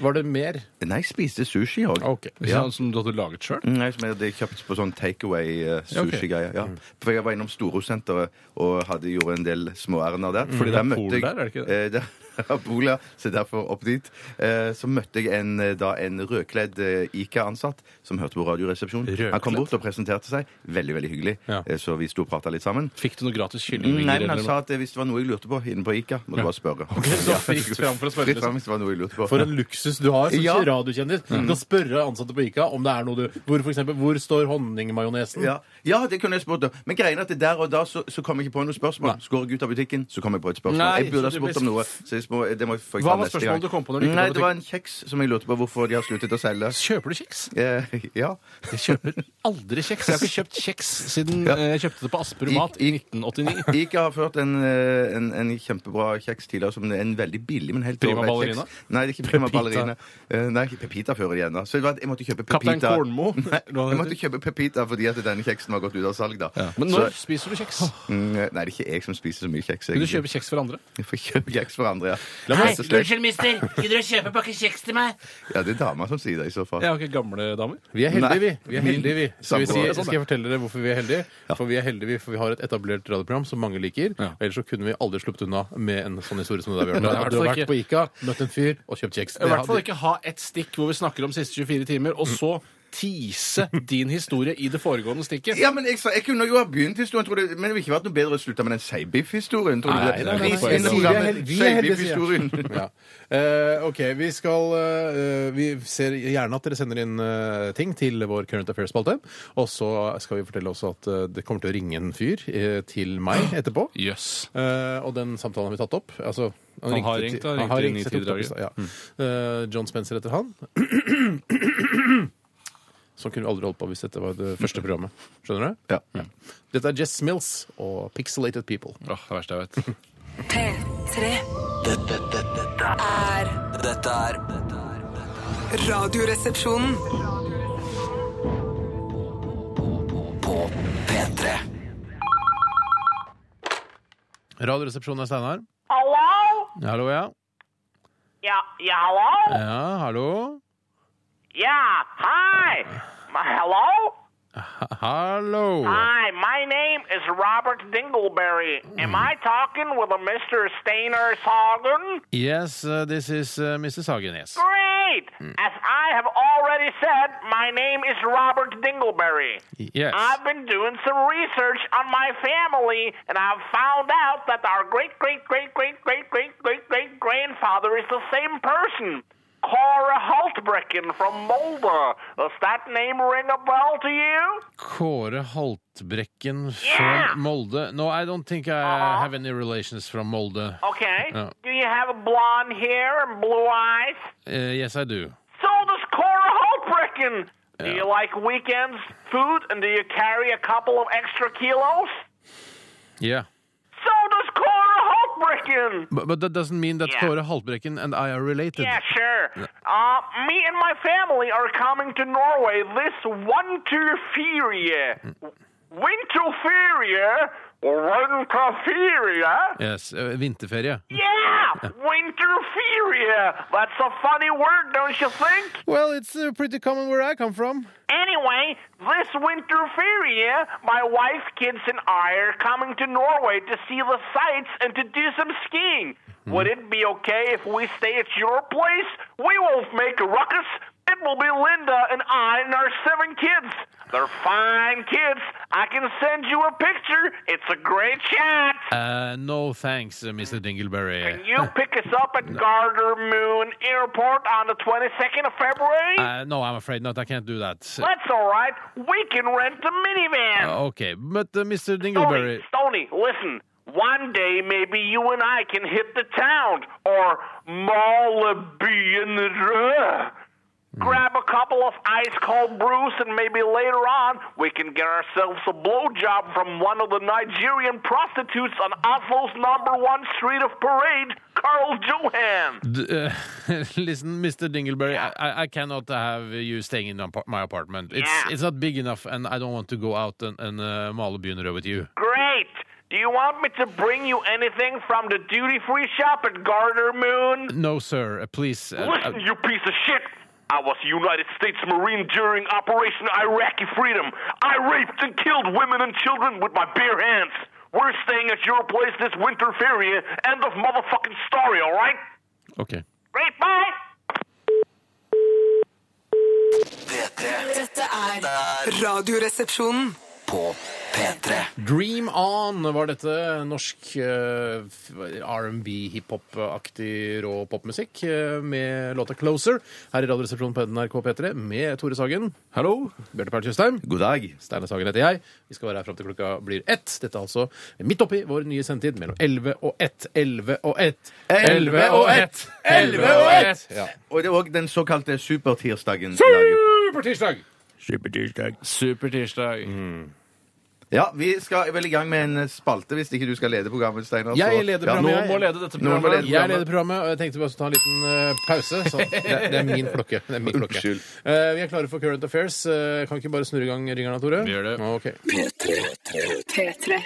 Var det mer?
Nei, jeg spiste sushi òg.
Ok.
Ja. Som du hadde laget sjøl?
Nei, som jeg hadde kjøpt på sånn takeaway-sushigreier.
Mm.
Ja. For jeg var innom Storosenteret og hadde gjorde en del småærender der.
Mm. Fordi det er pol der, er det ikke det?
Eh, der Abola, så derfor opp dit. Eh, Så møtte jeg en, eh, da en rødkledd eh, ICA-ansatt som hørte på Radioresepsjonen. Han kom
Rødkledd?
bort og presenterte seg. Veldig, veldig hyggelig.
Ja.
Eh, Så vi sto og prata litt sammen.
Fikk du noe gratis kyllingvinger?
Nei, men han
eller
sa at eh, hvis det var noe jeg lurte på inne på ICA, må du bare spørre.
så fritt fram for å spørre,
Fritt
liksom.
fram hvis det var noe jeg lurte på.
For en luksus du har som
Ja. Mhm.
radiokjendis. Du kan spørre ansatte på ICA om det er noe du Hvor, for eksempel, hvor står honningmajonesen?
Ja. ja, det kunne jeg spurt om. Men greien er at det der og da så, så kom jeg ikke på noe spørsmål.
Nei.
Så går jeg ut av butikken, så kom jeg på et spørsmål.
Nei,
jeg burde ha
så du
spurt
ble-
om noe. Så jeg må, det må jeg få
Hva
ta
var
neste
spørsmålet
gang.
du kom på når du ikke
Nei,
var på
det var en kjeks som jeg lurte på hvorfor de har sluttet å selge.
Kjøper du kjeks?
Eh, ja.
Jeg kjøper aldri kjeks. Jeg har ikke kjøpt kjeks siden
Ja.
eh, jeg kjøpte det på Asperud Mat i 1989.
Ica har ført en, eh, en, en kjempebra kjeks tidligere som er en veldig billig, men helt
Prima
ålreit
Ballerina?
kjeks. Nei, det er ikke Prima
Pepita.
Ballerina. Eh, Nei, Pepita fører de ennå. Så det var at jeg måtte kjøpe Pepita.
Kaptein Kornmo.
Nei, jeg måtte kjøpe Pepita fordi at denne kjeksen var gått ut av salg, da. Så,
Men når spiser du kjeks?
mm, nei, det er ikke jeg som spiser så mye kjeks.
Vil du
egentlig.
kjøpe kjeks for andre?
Jeg får kjøpe kjeks for andre, ja.
La meg-
Rett og slett.
mister. Gidder du å kjøpe pakke kjeks til meg?
Ja, det er dama som sier det, i så fall.
Jeg har ikke gamle damer.
Vi er heldige, vi.
Nei.
vi, er heldige, vi. Skal, vi si,
Samboer er sånn,
skal jeg fortelle dere hvorfor vi er heldige? For vi er heldige, vi, for vi har et etablert radioprogram som mange liker.
Ja.
Ellers så kunne vi aldri sluppet unna med en sånn historie som det der vi har
Nei,
hørt. At
i
Du har
hvert
vært på ICA, møtt en fyr og kjøpt kjeks.
I hvert fall ikke ha ett stikk hvor vi snakker om siste 24 timer, og så tease din historie i det foregående stikket.
Ja, men jeg, sa, jeg kunne jo ha begynt historien, tror du, men det ville ikke vært noe bedre å slutte med den seibiff-historien. tror du
Nei,
det?
nei, nei, nei.
Ris
Vi
inn i
sier
programmet,
hel- vi er heldige, sier jeg.
seibiff-historien.
Ja. Eh, OK, vi skal eh, Vi ser gjerne at dere sender inn eh, ting til vår Current Affairs-spalte. Og så skal vi fortelle også at eh, det kommer til å ringe en fyr eh, til meg etterpå.
Jøss.
Eh, og den samtalen har vi tatt opp. Altså,
Han har ringt,
til-
da. Ringte Mm.
han har
i
ringt, så jeg tok det opp i
nitid
stad, ja. Eh, John Spencer heter han. Sånn kunne vi aldri holdt på hvis dette var det
Mm.
første programmet. Skjønner du?
Ja.
Dette er Jess Mills og 'Pixelated People'.
Åh, det verste jeg vet.
P3
Dette, dette, dette,
er
er- dette er dette er- dette er
Radioresepsjonen.
På P3
Radioresepsjonen er Steinar.
Hallo?
Hallo, ja.
Ja, ja, hallo?
Ja, hallo.
Yeah, hi. My, hello?
Ha- Hallo.
Hi, my name is Robert Dingleberry. Am I talking with a Mr. Stainer Hagen?
Yes, uh, this is uh, Mrs. Hagen, yes.
Great! As I have already said, my name is Robert Dingleberry.
Yes.
I've been doing some research on my family, and I've found out that our great, great, great, great, great, great, great, great grandfather is the same person. Cora Hultbrecken from Molde. Does that name ring a bell to you?
Kåre Haltbrekken
Yeah!
from Molde. No, I don't think I have any relations from Molde.
Okay.
No.
Do you have blonde hair and blue eyes?
Uh, yes, I do.
So does Cora Hultbrecken. Do you like weekends food, and do you carry a couple of extra kilos?
Yeah.
So does Cora Hultbrecken.
But, but that doesn't mean that
Yeah.
Kåre Haltbrekken and I are related.
Yeah, sure. Uh, me and my family are coming to Norway this winter feria. Winter feria? Winter feria?
Yes, uh, vinterferie.
Yeah, winter feria. That's a funny word, don't you think?
Well, it's uh, pretty common where I come from.
Anyway, this winter feria, my wife, kids, and I are coming to Norway to see the sights and to do some skiing. Would it be okay if we stay at your place? We won't make a ruckus. It will be Linda and I and our seven kids. They're fine kids. I can send you a picture. It's a great shot.
Uh, no thanks, uh, Mr.
Mm. Can
Dingleberry.
you pick us up at Garder Moon Airport on the 22nd of February?
Uh, no, I'm afraid not. I can't do that.
That's all right. We can rent a minivan.
Uh, okay, but uh, Mr.
Stony,
Dingleberry.
Stony, listen. One day, maybe you and I can hit the town or Malibu in the drug. Grab a couple of ice cold brews, and maybe later on we can get ourselves a blowjob from one of the Nigerian prostitutes on Oslo's number one street of parade, Carl Johan.
D- uh, listen, Mr. Dingleberry, I- I, I cannot have you staying in apar- my apartment. It's
Yeah.
it's not big enough, and I don't want to go out and, and uh, male begynner with you.
Great. Do you want me to bring you anything from the duty free shop at Garter Moon?
No, sir. Uh, please. Uh, uh,
Listen, you piece of shit! I was a United States Marine during Operation Iraqi Freedom. I raped and killed women and children with my bare hands. We're staying at your place this winter feria. End of motherfucking story, all right?
Ok.
Great, bye!
P3
Radioresepsjonen.
på P3
Dream On var dette. Norsk eh, f- R&B, hiphop-aktig rå popmusikk eh, med låta 'Closer' her i Radioresepsjonen på NRK P3 med Tore Sagen. Hallo. Bjarte Paul Tjøstheim.
God dag.
Steinar Sagen heter jeg. Vi skal være her fram til klokka blir ett. Dette er altså midt oppi vår nye sendetid mellom 11 og 1. 11 og 1.
11 og 1.
11 og 1! Ja.
Og det er òg den såkalte supertirsdagen.
Supertirsdag!
Supertirsdag.
Supertirsdag.
Ja, vi skal vel i gang med en eh, spalte, hvis ikke du skal lede programmet, Steinar.
Jeg
så-
leder
Ja,
programmet,
nå-
jeg.
Må lede dette
Noen må
programmet.
lede
Jeg leder programmet, og jeg tenkte bare å ta en liten eh, pause. Så det, det er min klokke. Det er min klokke.
Unnskyld.
Eh, vi er klare for Current Affairs. Eh, kan ikke bare snurre i gang ringerne, Tore?
Vi gjør det.
Ok.
P3.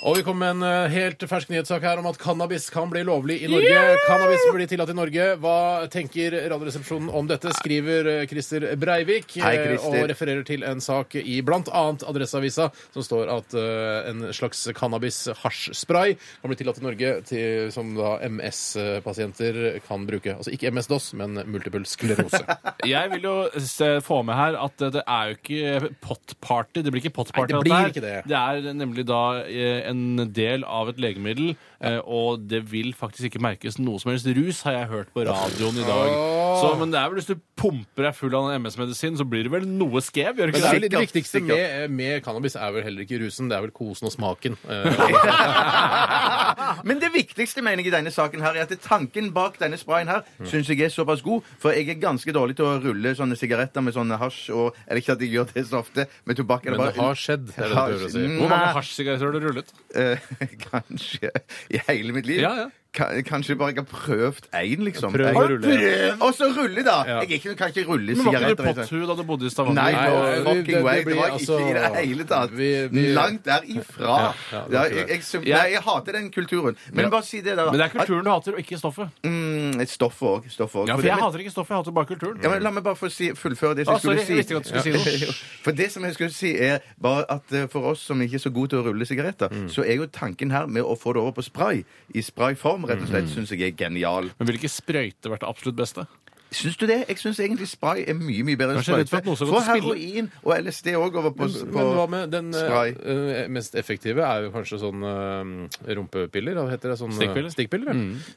Og vi kommer med en eh, helt fersk nyhetssak her om at cannabis kan bli lovlig i Norge. Cannabis blir tillatt i Norge. Hva tenker Radioresepsjonen om dette, skriver eh, Christer Breivik. eh,
Hei, Christer.
Og refererer til en sak i bl.a. Adresseavisa som står at eh, en slags cannabis-hasjspray kan bli tillatt i Norge til, som da MS-pasienter kan bruke. Altså ikke MS-DOS, men multiple sklerose.
Jeg vil jo se, få med her at det er jo ikke potparty. Det blir ikke potparty.
Nei, det blir
av her.
ikke det.
det er nemlig da eh, en del av et legemiddel, eh, og det vil faktisk ikke merkes noe som helst rus, har jeg hørt på radioen i dag. Så, men det er vel hvis du pumper deg full av MS-medisin, så blir det vel noe skjev, gjør
Men det,
det ikke
er
det?
vel, det
Sikkert,
viktigste
sikkert.
med, med cannabis er vel heller ikke rusen, det er vel kosen og smaken. Eh,
Men det viktigste mener jeg i denne saken her er at tanken bak denne sprayen her
Mm.
syns jeg er såpass god, for jeg er ganske dårlig til å rulle sånne sigaretter med sånne hasj og Eller ikke at jeg gjør det så ofte med tobakk. eller
Men det
bare-
har skjedd, det er det du prøver å si.
Nei,
Hvor mange hasjsigaretter har du rullet?
eh, kanskje i hele mitt liv.
Ja, ja.
Ka- Kanskje bare jeg har prøvd én, liksom.
Prøv å
Har du
rulle,
prøvd? Og så rulle, da! Jeg er ikke, kan ikke rulle
Men var ikke du
sigaretter. liksom.
potthue da du bodde i
Nei,
Stavanger?
Nei, nei,
no
vi-
fucking
det- det blir
way. Det var jeg
altså-
ikke i det hele tatt.
Vi- vi-
Langt derifra.
Ja, ja, det
Ja,
var ikke
jeg,
det.
jeg, sym- nei, jeg hater den kulturen. Men bare si det, da.
Men det er kulturen du hater, og ikke stoffet.
Mm, stoffet òg. Stoffet òg.
Ja, for jeg hater ikke stoffet, jeg hater bare kulturen.
ja, men la meg bare få si, fullføre det som
Ah,
jeg skulle
sorry, jeg visste ikke
si.
at du skulle si noe.
For det som jeg skulle si er bare at eh, For oss som ikke er så gode til å rulle sigaretter,
Mm.
så er jo tanken her med å få det over på spray, i sprayform, rett og slett,
Mm.
syns jeg er genial.
Men ville ikke sprøyte vært det absolutt beste?
Syns du det? Jeg syns egentlig spray er mye mye bedre enn
Kanskje jeg
spray.
er redd for at noen skal
Få
gå til spille.
heroin og LSD òg over på,
Men
på
hva med den eh,
spray.
eh, mest effektive er jo kanskje sånn eh, rumpepiller? Hva heter det? Sånn, eh,
Stikkpiller? Mm.
stikkpiller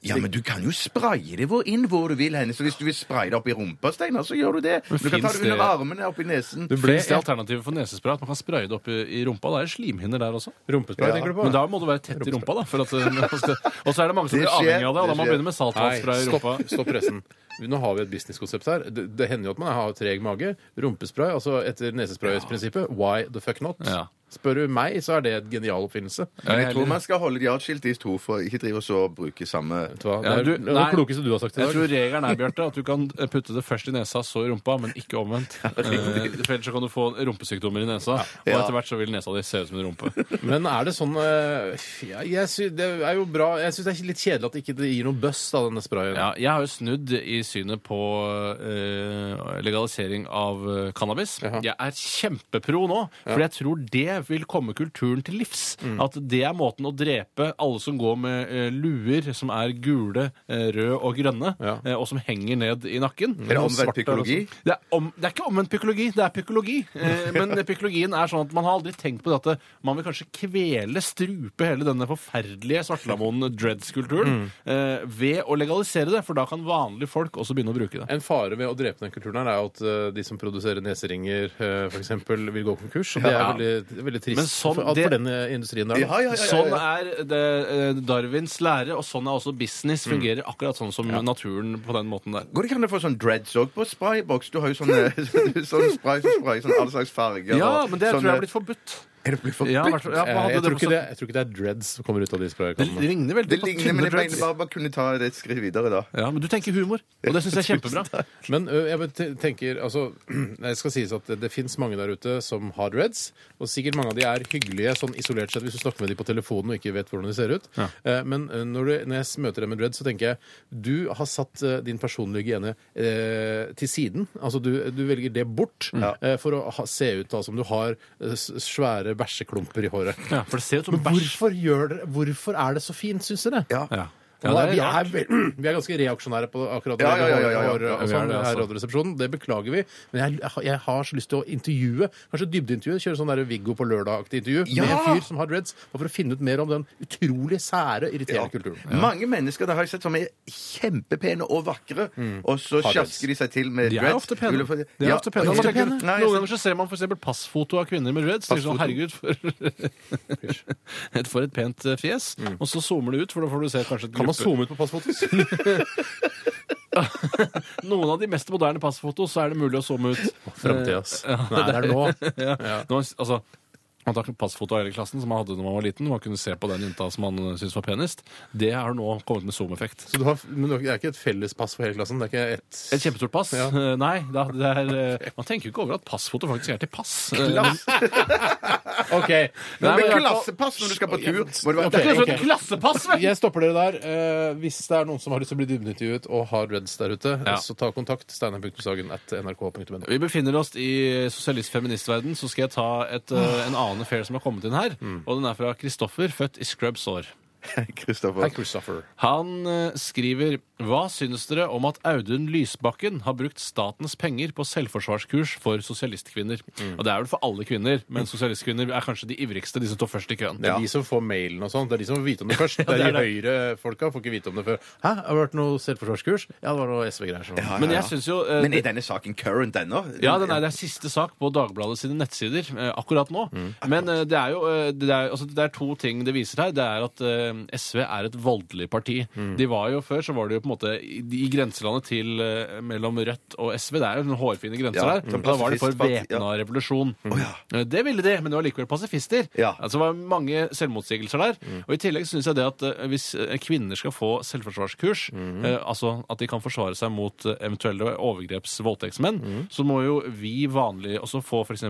ja.
Ja, men du kan jo spraye det hvor inn hvor du vil henne. Så hvis du vil spraye det opp i rumpa, Steinar, så gjør du det.
Men
Du kan ta
finnes
det under
det-
armene, opp i nesen.
Du ble det alternativet for nesespray at man kan spraye det opp i, i rumpa? Det er slimhinner der også.
Rumpespray,
Ja.
tenker du på?
Men da må du være tett i rumpa, da. For at, man skal- og så er det mange som
Det
blir
skjer,
avhengig av det, og da
det
må man
skjer.
begynne med
Nei,
saltvannsspray i rumpa.
stopp, stopp pressen. Nå har vi et businesskonsept her. Det, det hender jo at man har treg mage. Rumpespray, altså etter nesesprayprinsippet. Why the fuck not?
Ja.
Spør du meg, så er det en genial oppfinnelse.
Men
Ja,
jeg tror man skal holde de atskilt, de to, for ikke drive og så bruke samme
Vet du hva?
Ja,
Det er
du-
det
nei.
er det klokeste du har sagt i
Jeg
dag.
tror regelen er Bjørte, at du kan eh, putte det først i nesa, så i rumpa, men ikke omvendt. Eh, For ellers så kan du få rumpesykdommer i nesa, og
Ja.
etter hvert så vil nesa di se ut som en rumpe.
Men er det sånn eh, ja, jeg sy Det er jo bra Jeg syns det er litt kjedelig at ikke det gir noe buzz, da, denne sprayen.
Ja, jeg har jo snudd i synet på eh, legalisering av eh, cannabis. Jeg er kjempepro nå, for jeg tror det vil komme kulturen til livs. At det er måten å drepe alle som går med eh, luer som er gule, eh, røde og grønne,
Ja.
eh, og som henger ned i nakken. altså.
Er det
noe
omvendt
svart der
psykologi?
Det er, om, det er ikke omvendt psykologi, det er psykologi. Eh, men psykologien er sånn at man har aldri tenkt på det at eh, man vil kanskje kvele, strupe hele denne forferdelige svartelamonen dreads-kulturen
Mm.
eh, ved å legalisere det, for da kan vanlige folk også begynne å bruke det.
En fare ved å drepe den kulturen her er jo at eh, de som produserer neseringer f.eks. vil gå konkurs. Og det er
Ja.
veldig, veldig trist
Men sånn-
for, at-
det-
for den eh, industrien der. da.
Ja, ja, ja, ja,
Sånn
ja.
er det, eh, Darwins lære, og sånn er også
Mm.
business. Fungerer akkurat sånn som naturen på den måten der.
Går det ikke an å få sånn dreads òg på sprayboks? Du har jo sånne, sånn spray som sprayer sånn alle slags farger.
Ja,
og
men det
sånne,
tror jeg er blitt forbudt.
Er Sånn det blitt for
Ja, i hvert fall- ja,
Eh,
man hadde
jeg, tror ikke
på-
det, jeg tror ikke det er dreads som kommer ut av de
Det
spraykanene.
ligner veldig
Det ligner,
på
men
tynne
jeg mener
dreads.
bare, bare kunne ta det et skritt videre, da.
Ja, men du tenker humor, og det syns jeg er kjempebra.
Men ø, jeg vet- tenker, altså, det skal sies at det, det fins mange der ute som har dreads. Og sikkert mange av de er hyggelige sånn isolert sett hvis du snakker med de på telefonen og ikke vet hvordan de ser ut. Eh, Men ø, når, du, når jeg s- møter dem med dreads, så tenker jeg du har satt ø, din personlige hygiene eh, til siden. Altså du, du velger det bort eh, for å ha, se ut da, som du har eh, s- svære der bæsjeklumper i håret.
Ja, for det ser ut som
Men
bæsj.
hvorfor, gjør dere, hvorfor er det så fint, syns dere?
Ja.
Ja.
Og
Ja, det
vi,
er
er,
rart.
vel- vi er ganske reaksjonære på akkurat det.
Ja, ja, ja, ja, ja, ja.
og- og- og
Ja, vi er
sånn,
det,
her i
altså.
Radioresepsjonen. Det beklager vi. Men jeg, jeg har så lyst til å intervjue, kanskje dybdeintervjue, kjøre sånn der Viggo på lørdag-aktig intervju med
Ja!
en fyr som har dreads, og for å finne ut mer om den utrolig sære, irriterende kulturen.
Mange mennesker det har jeg sett som er kjempepene og vakre, og så
Har dreads.
sjasker de seg til med
Mm. De er
dreads.
ofte pene.
Vil du få-
De er
Ja,
ofte pene.
og
Man
jeg
tenker-
tenker- Nei, jeg
Noen ganger så ser man f.eks. passfoto av kvinner med dreads. Tenker sånn, herregud, for, et, for et pent eh, fjes. Og så zoomer det ut, for da får du se kanskje et
Kan man
gruppe-
zoome ut på passfotos?
Noen av de mest moderne passfoto, så er det mulig å zoome ut.
Framtidas.
Ja,
Nei, det Eh, er nå.
ja. Nå, altså, man tar passfoto av hele klassen som man hadde når man var liten. Man kunne se på den jenta som man eh, syntes var penest. Det har nå kommet med zoom-effekt.
Så du har, men det er ikke et fellespass for hele klassen? Det er ikke et
Et kjempestort pass?
Ja.
Eh, Nei. da- Det er, eh, man tenker jo ikke over at passfoto faktisk er til pass. Eh,
OK.
Nei,
Men
men i hvert fall-
klassepass når du skal på tur må det være
Det er ikke
Ok,
som et klassepass, vel!
Jeg stopper dere der. Eh, hvis det er noen som har lyst til å bli dybdeintervjuet og har dreads der ute,
Ja.
så ta kontakt. Steinar.sagen at nrk.no.
Vi befinner oss i sosialist-feministverden, så skal jeg ta et, eh, en annen affair som har kommet inn her.
Mm.
Og den er fra Kristoffer, født i Scrubs år.
Kristoffer.
Hei, Christopher.
Han eh, skriver Hva synes dere om at Audun Lysbakken har brukt statens penger på selvforsvarskurs for sosialistkvinner?
Mm.
Og det er vel for alle kvinner, men sosialistkvinner er kanskje de ivrigste, de som står først i køen.
Det er de som får mailen og sånn. Det er de som får vite om det først. Det er
det er
de høyre-folka får ikke vite om det før. Hæ, har det vært noe selvforsvarskurs? Ja, det var noe SV-greier. som-
Ja, ja,
Men
ja.
jeg synes jo eh,
Men er denne saken current ennå?
Ja, den er, det er siste sak på Dagbladet sine nettsider eh, akkurat nå.
Mm.
Men eh, det er jo eh, det er, altså, det er to ting det viser her. Det er at eh, SV er et voldelig parti.
Mm.
De var jo Før så var det jo på en måte i, i grenselandet til eh, mellom Rødt og SV. Det er jo sånne hårfine grenser
Ja,
der.
som
Da var de for
pasifistparti, ja.
væpna revolusjon.
Å, ja.
Eh, Det ville de, men det var likevel pasifister.
Ja.
Altså, det var mange selvmotsigelser der.
Mm.
Og i tillegg syns jeg det at eh, hvis eh, kvinner skal få selvforsvarskurs,
Mm.
eh, altså at de kan forsvare seg mot eh, eventuelle overgreps-voldtektsmenn,
Mm.
så må jo vi vanlige også få f.eks.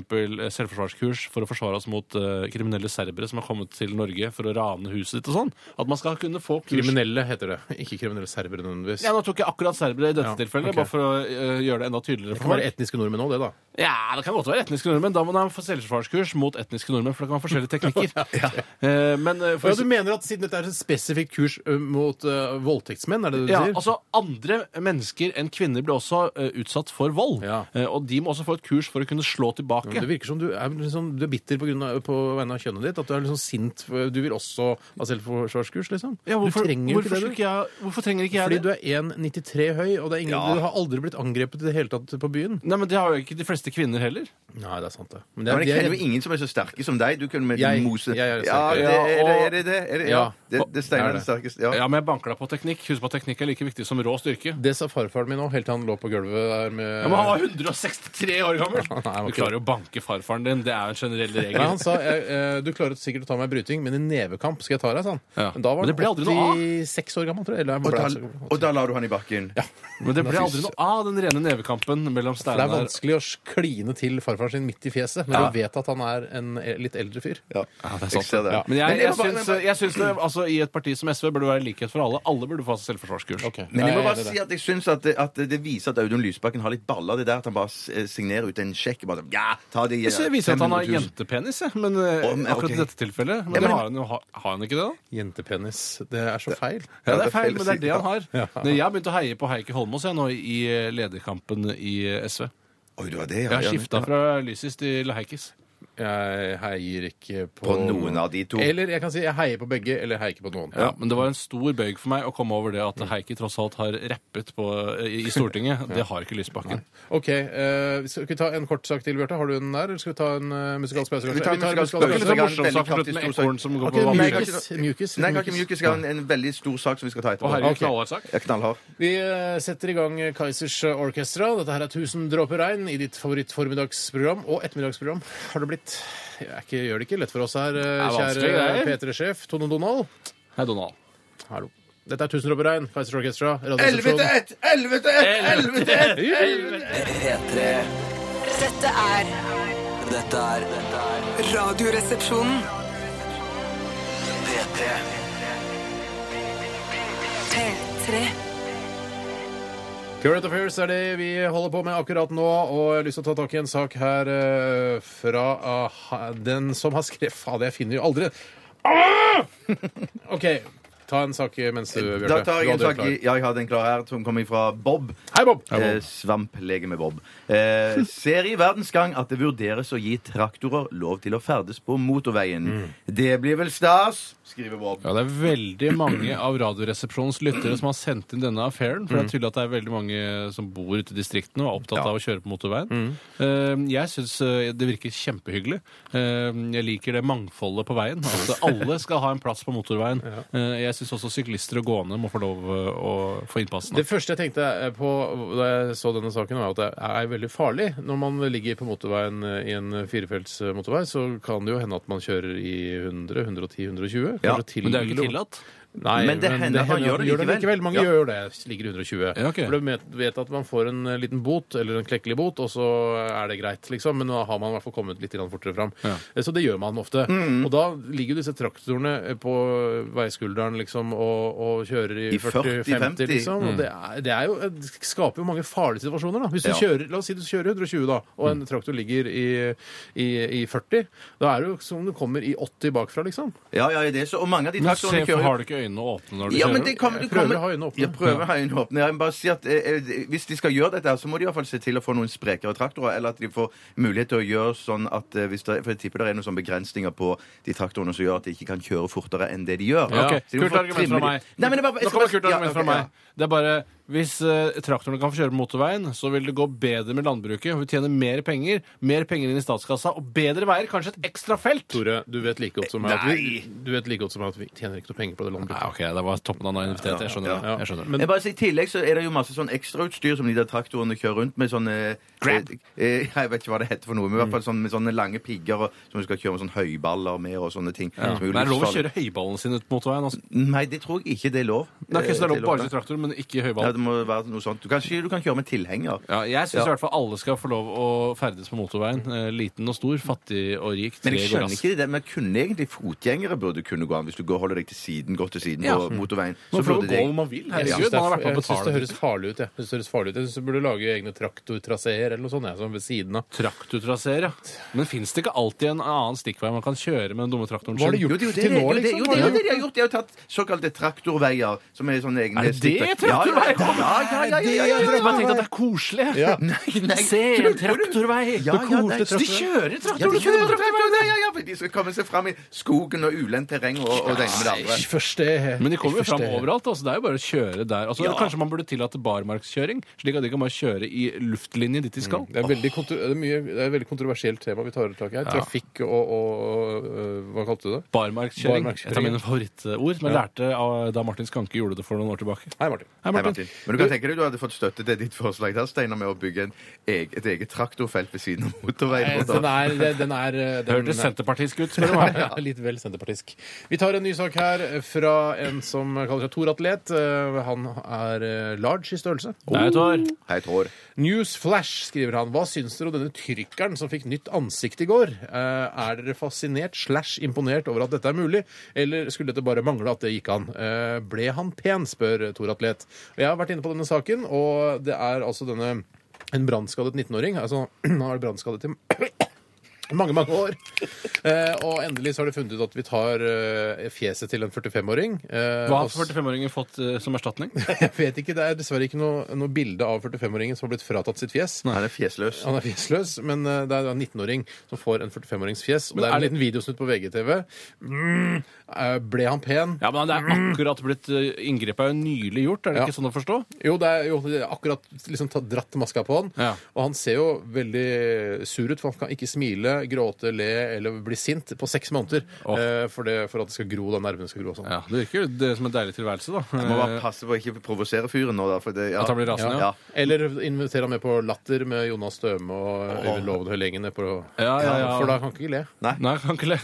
selvforsvarskurs for å forsvare oss mot eh, kriminelle serbere som har kommet til Norge for å rane huset ditt og sånn. At man skal kunne få kurs
Kriminelle heter det. Ikke kriminelle serbere nødvendigvis.
ja, Nå tok jeg akkurat serbere i dette
Ja,
tilfellet,
ok.
bare for å eh, gjøre det enda tydeligere.
Det
for
kan være
folk.
etniske nordmenn òg, det, da.
Ja, det kan godt være etniske nordmenn. Da må man få selvforsvarskurs mot etniske nordmenn, for det kan være forskjellige teknikker. Eh, Men eh, for
Ja, du mener at siden dette er et spesifikt kurs ø, mot ø, voldtektsmenn, er det det du
ja,
sier?
altså Andre mennesker enn kvinner blir også eh, utsatt for vold.
Ja.
Eh, og de må også få et kurs for å kunne slå tilbake.
Men Det virker som du er, liksom, du er bitter på, grunn av, på vegne av kjønnet ditt. At du er liksom sint. for- Du vil også ha selvforsvarskurs, liksom.
Ja, hvorfor,
du trenger jo
hvorfor,
ikke det.
skulle
Du.
ikke jeg, hvorfor trenger ikke jeg
Fordi
det?
du er 1,93 høy, og det er ingen,
Ja.
du har aldri blitt angrepet i det hele tatt på byen.
Nei, men Det har jo ikke de fleste kvinner heller.
Nei, det er sant, det. Men det er-
Men jeg
det er-
kjenner jo ingen som er så sterke som deg. Du kunne med
Jeg-
mose
jeg er
Ja,
sterk.
det, er
Ja,
det
og-
er det, det? Er det, ja.
Ja.
det, det
Det
Steinar
er
er
det.
den sterkeste. Ja.
Ja, Men jeg banker deg på teknikk. Husk på at teknikk er like viktig som rå styrke.
Det sa farfaren min òg, helt til han lå på gulvet der med
Ja, men han var 163 år gammel!
Nei, han var
Du
ikke
klarer jo å banke farfaren din. Det er jo en generell regel.
Nei, han sa jeg, eh, du klarer sikkert å ta meg i bryting, men i nevekamp skal jeg ta deg, sa han.
Ja.
Men da var
Men det ble
han
aldri noe av.
86 år gammel, tror jeg. Eller han
Og,
ble
da,
altså-
og da la du han i bakken.
Men det ble aldri noe av den rene nevekampen mellom
For det er
Steinar
vanskelig å sk- kline til farfaren sin midt i fjeset når
Ja.
du vet at han er en e- litt eldre fyr.
Ja,
det er sant.
jeg ser det.
Ja.
Men jeg,
jeg
jeg,
må bare-
syns, jeg syns det, altså, i et parti som SV burde det være likhet for alle. Alle burde få selvforsvarskurs.
Men jeg må
er
bare
enig i
si at jeg syns at, det- at det viser at Audun Lysbakken har litt baller, det der at han bare s- eh, signerer ut en sjekk. Bare, sånn, ja, ta de, eh,
Jeg synes det viser at han har
500 000.
jentepenis, jeg, men eh,
Om,
akkurat
ok.
i dette tilfellet
Ja,
men
men-
det har, han jo, har, har han ikke det, da?
Jentepenis. Det er så feil.
Ja, det
det er
er feil,
feil å
men det
si,
er det han har.
Ja.
Nei, Jeg har begynt å heie på Heikki Holmås jeg, nå i eh, lederkampen i eh, SV.
Oi, det var det, ja.
Jeg har
Ja, men-
skifta fra Lysis til Heikis.
Jeg heier ikke på
På noen av de to.
Eller jeg kan si jeg heier på begge, eller heier ikke på noen.
Ja, men det var en stor bøyg for meg å komme over det at
Mm.
Heikki tross alt har rappet på, eh, i, i Stortinget. Det har ikke Lysbakken.
Ok, eh, Skal vi ta en kort sak til, Bjarte? Har du en der? Eller skal vi ta en uh, musikalsk pause? kanskje?
Vi tar en musikalsk
Kan
pause.
du ta
Jeg har en
morsom
veldig
sak på
kraftig
slutten
stor
med
sak.
ekorn som går
Ok,
på
Nei, jeg
vann?
har ikke-
Mjukis, mjukis,
Nei, jeg har ikke
mjukis.
mjukis. Jeg har en, en veldig stor sak som vi skal ta etterpå.
Å, herregud,
Ok.
knallhard sak.
Ja, knallhard.
Vi eh, setter i gang Kaizers Orchestra. Dette her er 1000 dråper regn i ditt favorittformiddagsprogram og ettermiddagsprogram. Har det blitt Jeg er ikke, Gjør det ikke lett for oss her, eh,
vanskelig,
kjære
det
P3-sjef Tone Donald.
Hei, Donald.
Hallo. Dette er 1000 dråper regn, Kaizers Orchestra.
Elleve til
Radioresepsjonen.
ett! Elleve til ett! Elleve til ett!
P3
Dette er
Dette er dette er
Radioresepsjonen.
P3
P3.
Current Affairs er det vi holder på med akkurat nå, og jeg har lyst til å ta tak i en sak her eh, fra ah, den som har skrevet Fader, jeg finner jo aldri Ah! OK. Ta en sak mens du, Bjarte.
Da
Du
tar jeg en
hadde
sak i,
klar.
ja, jeg hadde en klar her som kommer fra Bob.
Hei, Bob.
Eh, svamplege med Bob. Eh, ser i Verdensgang at det vurderes å gi traktorer lov til å ferdes på motorveien. Det blir vel stas, skriver Bob.
Mm. Ja, Det er veldig mange av Radioresepsjonens lyttere som har sendt inn denne affæren.
Mm.
For det er tydelig at det er veldig mange som bor ute i distriktene og er opptatt av å kjøre på
Mm.
motorveien. Eh, Jeg syns det virker kjempehyggelig. Eh, Jeg liker det mangfoldet på veien. At alle skal ha en plass på motorveien. Eh, Jeg syns også syklister og gående må få lov eh, å få innpass. nå.
Det første jeg tenkte eh, på da jeg så denne saken, var at det er veldig farlig. Når man ligger på motorveien eh, i en firefelts eh, motorvei, så kan det jo hende at man kjører i 100, 110, 120.
Ja,
kanskje til-
Men det er jo ikke tillatt.
Nei, men det hender, at man gjør det likevel. Mange gjør det. Ligger i 120.
Ja, ok.
For du vet- vet at man får en eh, liten bot, eller en klekkelig bot, og så er det greit, liksom. Men da har man i hvert fall kommet litt grann fortere fram.
Ja.
Eh, Så det gjør man ofte. Og da ligger jo disse traktorene eh, på veiskulderen, liksom, og, og kjører i
I
40-50,
40-50,
liksom. Og det, er, det, er jo, det skaper jo mange farlige situasjoner, da. Hvis du
Ja.
kjører, la oss si du kjører 120, da, og en traktor ligger i, i, i 40, da er det jo som om du kommer i 80 bakfra, liksom.
Ja, ja, det er så, og mange av de
Men
traktorene
se, for
kjører
har du ikke øynene åpne når du
Ja,
kjører?
men det kommer,
Jeg
det
prøver
kommer-
å ha øynene åpne.
Jeg prøver å ha øynene åpne. Jeg vil bare si at eh, eh, Hvis de skal gjøre dette, her, så må de i hvert fall se til å få noen sprekere traktorer, eller at de får mulighet til å gjøre sånn at eh, hvis det, For jeg tipper det er noen sånne begrensninger på de traktorene som gjør at de ikke kan kjøre fortere enn det de gjør.
Ja, ok.
Så de må
Kult
få
argument
trimme
fra
de-
meg.
Nei, men det er bare, jeg skal
Nå kommer
bare-
kult argument
ja,
fra
ok,
meg.
ja.
Det er bare Hvis eh, traktorene kan få kjøre på motorveien, så vil det gå bedre med landbruket. Og vi tjener mer penger, mer penger inn i statskassa og bedre veier. Kanskje et ekstra felt.
Tore, du vet like godt som meg at vi,
Nei!
du vet like godt som meg at vi tjener ikke noe penger på det landbruket.
Ja, ok, Det var toppen av naivitet. Jeg skjønner det.
Ja,
Jeg skjønner det.
Men
Jeg bare sier, I tillegg så er det jo masse sånn ekstrautstyr som de der traktorene kjører rundt med. sånn... eh, Eh, jeg vet ikke hva det heter for noe, men i hvert fall sånn, med sånne lange pigger og, som du skal kjøre med sånn høyballer med og sånne ting.
Ja.
som jo
Men er det lov å
livsfarlig.
kjøre høyballen sin ut på motorveien? Altså?
Nei, det tror jeg ikke det er lov.
Det er ikke så det er lov på
da.
bare til traktor, men ikke i
Ja,
høyball.
det må være noe sånt. Du kan, du kan kjøre med tilhenger.
Ja, jeg syns
Ja.
i hvert fall alle skal få lov å ferdes på motorveien. Eh, Liten og stor, fattig og rik.
Men jeg
tre går altså.
skjønner
raskt.
ikke det der, men kunne egentlig fotgjengere burde kunne gå an hvis du går, holder deg til siden, går til siden
Ja.
på motorveien.
Nå får
burde
du gå hvor man vil.
Jeg
Herregud,
syns det,
man har
er-
vært med
jeg
å
syns det
betale.
høres farlig ut. Jeg Jeg syns det høres farlig ut. Jeg syns du burde lage egne traktortraseer eller noe sånt jeg, som ved siden av.
Traktortraseer, ja. Men fins det ikke alltid en annen stikkvei man kan kjøre med den dumme traktoren
Hva har
sin?
du gjort
Jo, det er jo det,
til nå,
jo, det,
liksom?
jo, det, jo, det de har gjort. De har jo tatt såkalte traktorveier. Som er sånne egne
Er det
stikkveier.
traktorveier?
Ja, ja, ja, ja, ja, ja, ja, ja,
Jeg
ja.
bare tenkte at det er koselig.
Ja.
Nei, nei.
Se, en traktorvei!
Ja, ja, det er-
de kjører
Ja, de
traktor!
kjører på traktorveier, ja, ja, ja, for de skal komme seg fram i skogen og ulendt terreng og, og det ene med det andre.
Ikke forstå.
Men de kommer jo
Ikke
fram
forstå.
overalt. Altså, det er jo bare å kjøre der. Altså, Kanskje man burde tillate barmarkskjøring, slik at de kan bare kjøre i luftlinjen dit de skal.
Mm, Det er, veldig kontro det, er mye, det er et veldig kontroversielt tema vi tar tak i her. Trafikk og, og øh, Hva kalte du det?
Barmarkskjøring.
Barmarkskjøring.
Et av mine favorittord som jeg lærte av, da Martin Skanke gjorde det for noen år tilbake.
Hei, Martin.
Nei,
Hei, Martin.
Martin. Men du kan tenke deg du hadde fått støtte til ditt forslag der, Steinar, med å bygge en eg, et eget traktorfelt ved siden av motorveien. Og da-
Den er, den er, den er
Hørtes senterpartisk ut, spør du meg.
Ja, litt vel senterpartisk. Vi tar en ny sak her fra en som kaller seg Tor Atlet. Eh, Han er eh, large i størrelse.
Nei, Tor.
Hei, Tor.
Newsflash, skriver han. Hva syns dere om denne tyrkeren som fikk nytt ansikt i går? Eh, Er dere fascinert slash imponert over at dette er mulig, eller skulle dette bare mangle at det gikk an? Eh, Ble han pen, spør Tor Atlet. Og Jeg har vært inne på denne saken, og det er altså denne en brannskadet 19-åring. Altså, han har vært brannskadet i mange, mange år. Eh, og endelig så har de funnet ut at vi tar eh, fjeset til en 45-åring. Eh, og
Hva har
s-
45-åringen fått eh, som erstatning?
Jeg vet ikke, Det er dessverre ikke noe, noe bilde av 45-åringen som har blitt fratatt sitt fjes.
Han er fjesløs.
Han er fjesløs, men eh, det er en 19-åring som får en 45-årings fjes. Og det er
er
en
det-
liten videosnutt på VGTV. Mm, eh, ble han pen?
Ja, men Det er akkurat blitt eh, Inngrepet er jo nylig gjort, er det
Ja.
ikke sånn å forstå?
Jo, det er jo det er akkurat liksom tatt- dratt maska på han.
Ja.
Og han ser jo veldig sur ut, for han kan ikke smile, gråte, le eller bli sint på seks måneder
Åh.
eh, for, det, for at det skal gro, da nervene skal gro og sånn.
Ja, Det virker jo det som en deilig tilværelse, da.
Må bare passe på å ikke provosere fyren nå, da. For det, ja.
At han blir rasende, ja.
Eller invitere ham med på Latter med Jonas Støme og Øyvind Loven og hele gjengen. ned på-
Ja, ja, ja.
For da kan han ikke le.
Nei, jeg kan ikke le.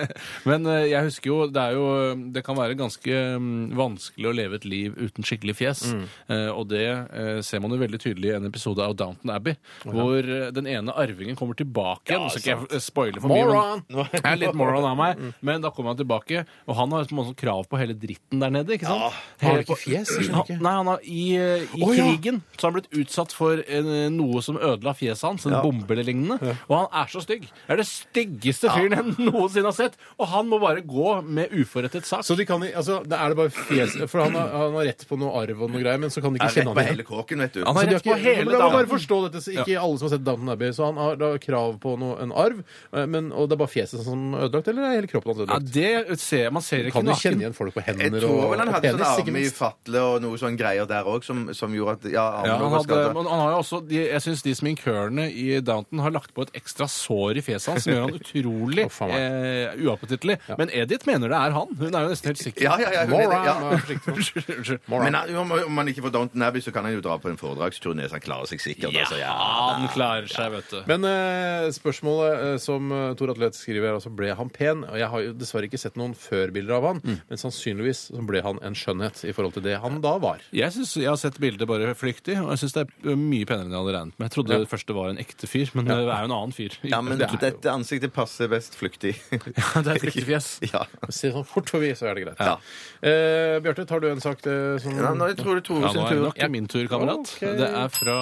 Men eh, jeg husker jo det, er jo det kan være ganske mm, vanskelig å leve et liv uten skikkelig fjes.
Mm.
Eh, og det eh, ser man jo veldig tydelig i en episode av Downton Abbey, hvor eh, den ene arvingen kommer tilbake igjen. og så skal skal jeg spoile for
Moron! Mm.
mye. men- Jeg er litt moron av meg. Men da kommer han tilbake, og han har på en måte krav på hele dritten der nede. ikke sant?
Har han ikke fjes? Jeg skjønner ikke.
Han- Nei, han har i, eh, i
Å, ja.
krigen så har han blitt utsatt for en, eh, noe som ødela fjeset hans, en bombe eller lignende. Og han er så stygg. Det er det styggeste fyren jeg noensinne har sett. Og han må bare gå med uforrettet sak.
Så de kan, i- altså, da er det bare fjes For han har, han har rett på noe arv og noe greier, men så kan de ikke
Jeg
kjenne
rett på
han igjen.
hele kåken, vet du.
har
Så de
rett på hele
Ja, men La meg
Downton.
bare forstå dette. så Ikke alle som har sett Downton Abbey. Så han har da krav på noe, en arv, eh, men, og det er bare fjeset som er ødelagt, eller er hele kroppen hans
Ja,
ødelagt?
det ser man ser ikke
Kan du kjenne
naken.
igjen folk på
Jeg
hender
tror
og,
vel han
og
hadde sånn
penis? ikke
arme i
minst?
fatle og noe sånn greier der òg som, som gjorde at Ja,
Ja, han,
armene var
hadde,
skada.
men han har jo også, de, jeg syns de sminkørene i Downton har lagt på et ekstra sår i fjeset hans som gjør han utrolig
Å, faen
eh, uappetittlig. Men Edith mener det er han. Hun er jo nesten helt sikker.
Ja, ja, ja, hun er det, ja.
eh,
Moron! Vær forsiktig med det.
Unnskyld, unnskyld.
Men han- om, om han ikke får Downton Abbey, så kan han jo dra på en foredragsturné, så han klarer seg sikkert. Altså, ja.
han klarer seg, vet du.
Men eh, spørsmålet eh, som eh, Tor Atlet skriver her, altså ble han pen? Og jeg har jo dessverre ikke sett noen før-bilder av han,
Mm.
men sannsynligvis så ble han en skjønnhet i forhold til det han da var.
Jeg synes, jeg har sett bildet bare flyktig, og jeg syns det er mye penere enn jeg hadde regnet med. Jeg trodde det første var en ekte fyr, men det er jo en annen fyr.
Ja, men
det er,
dette ansiktet passer best flyktig.
jo- det er et flyktig fjes.
ja.
Se sånn fort forbi, så er det greit.
Ja.
Eh, Bjarte, tar du en sak eh, som
Ja, nå tror jeg det er Tore
Ja,
sin
nå er det
tur.
nok min tur, kamerat.
Ok.
Det er fra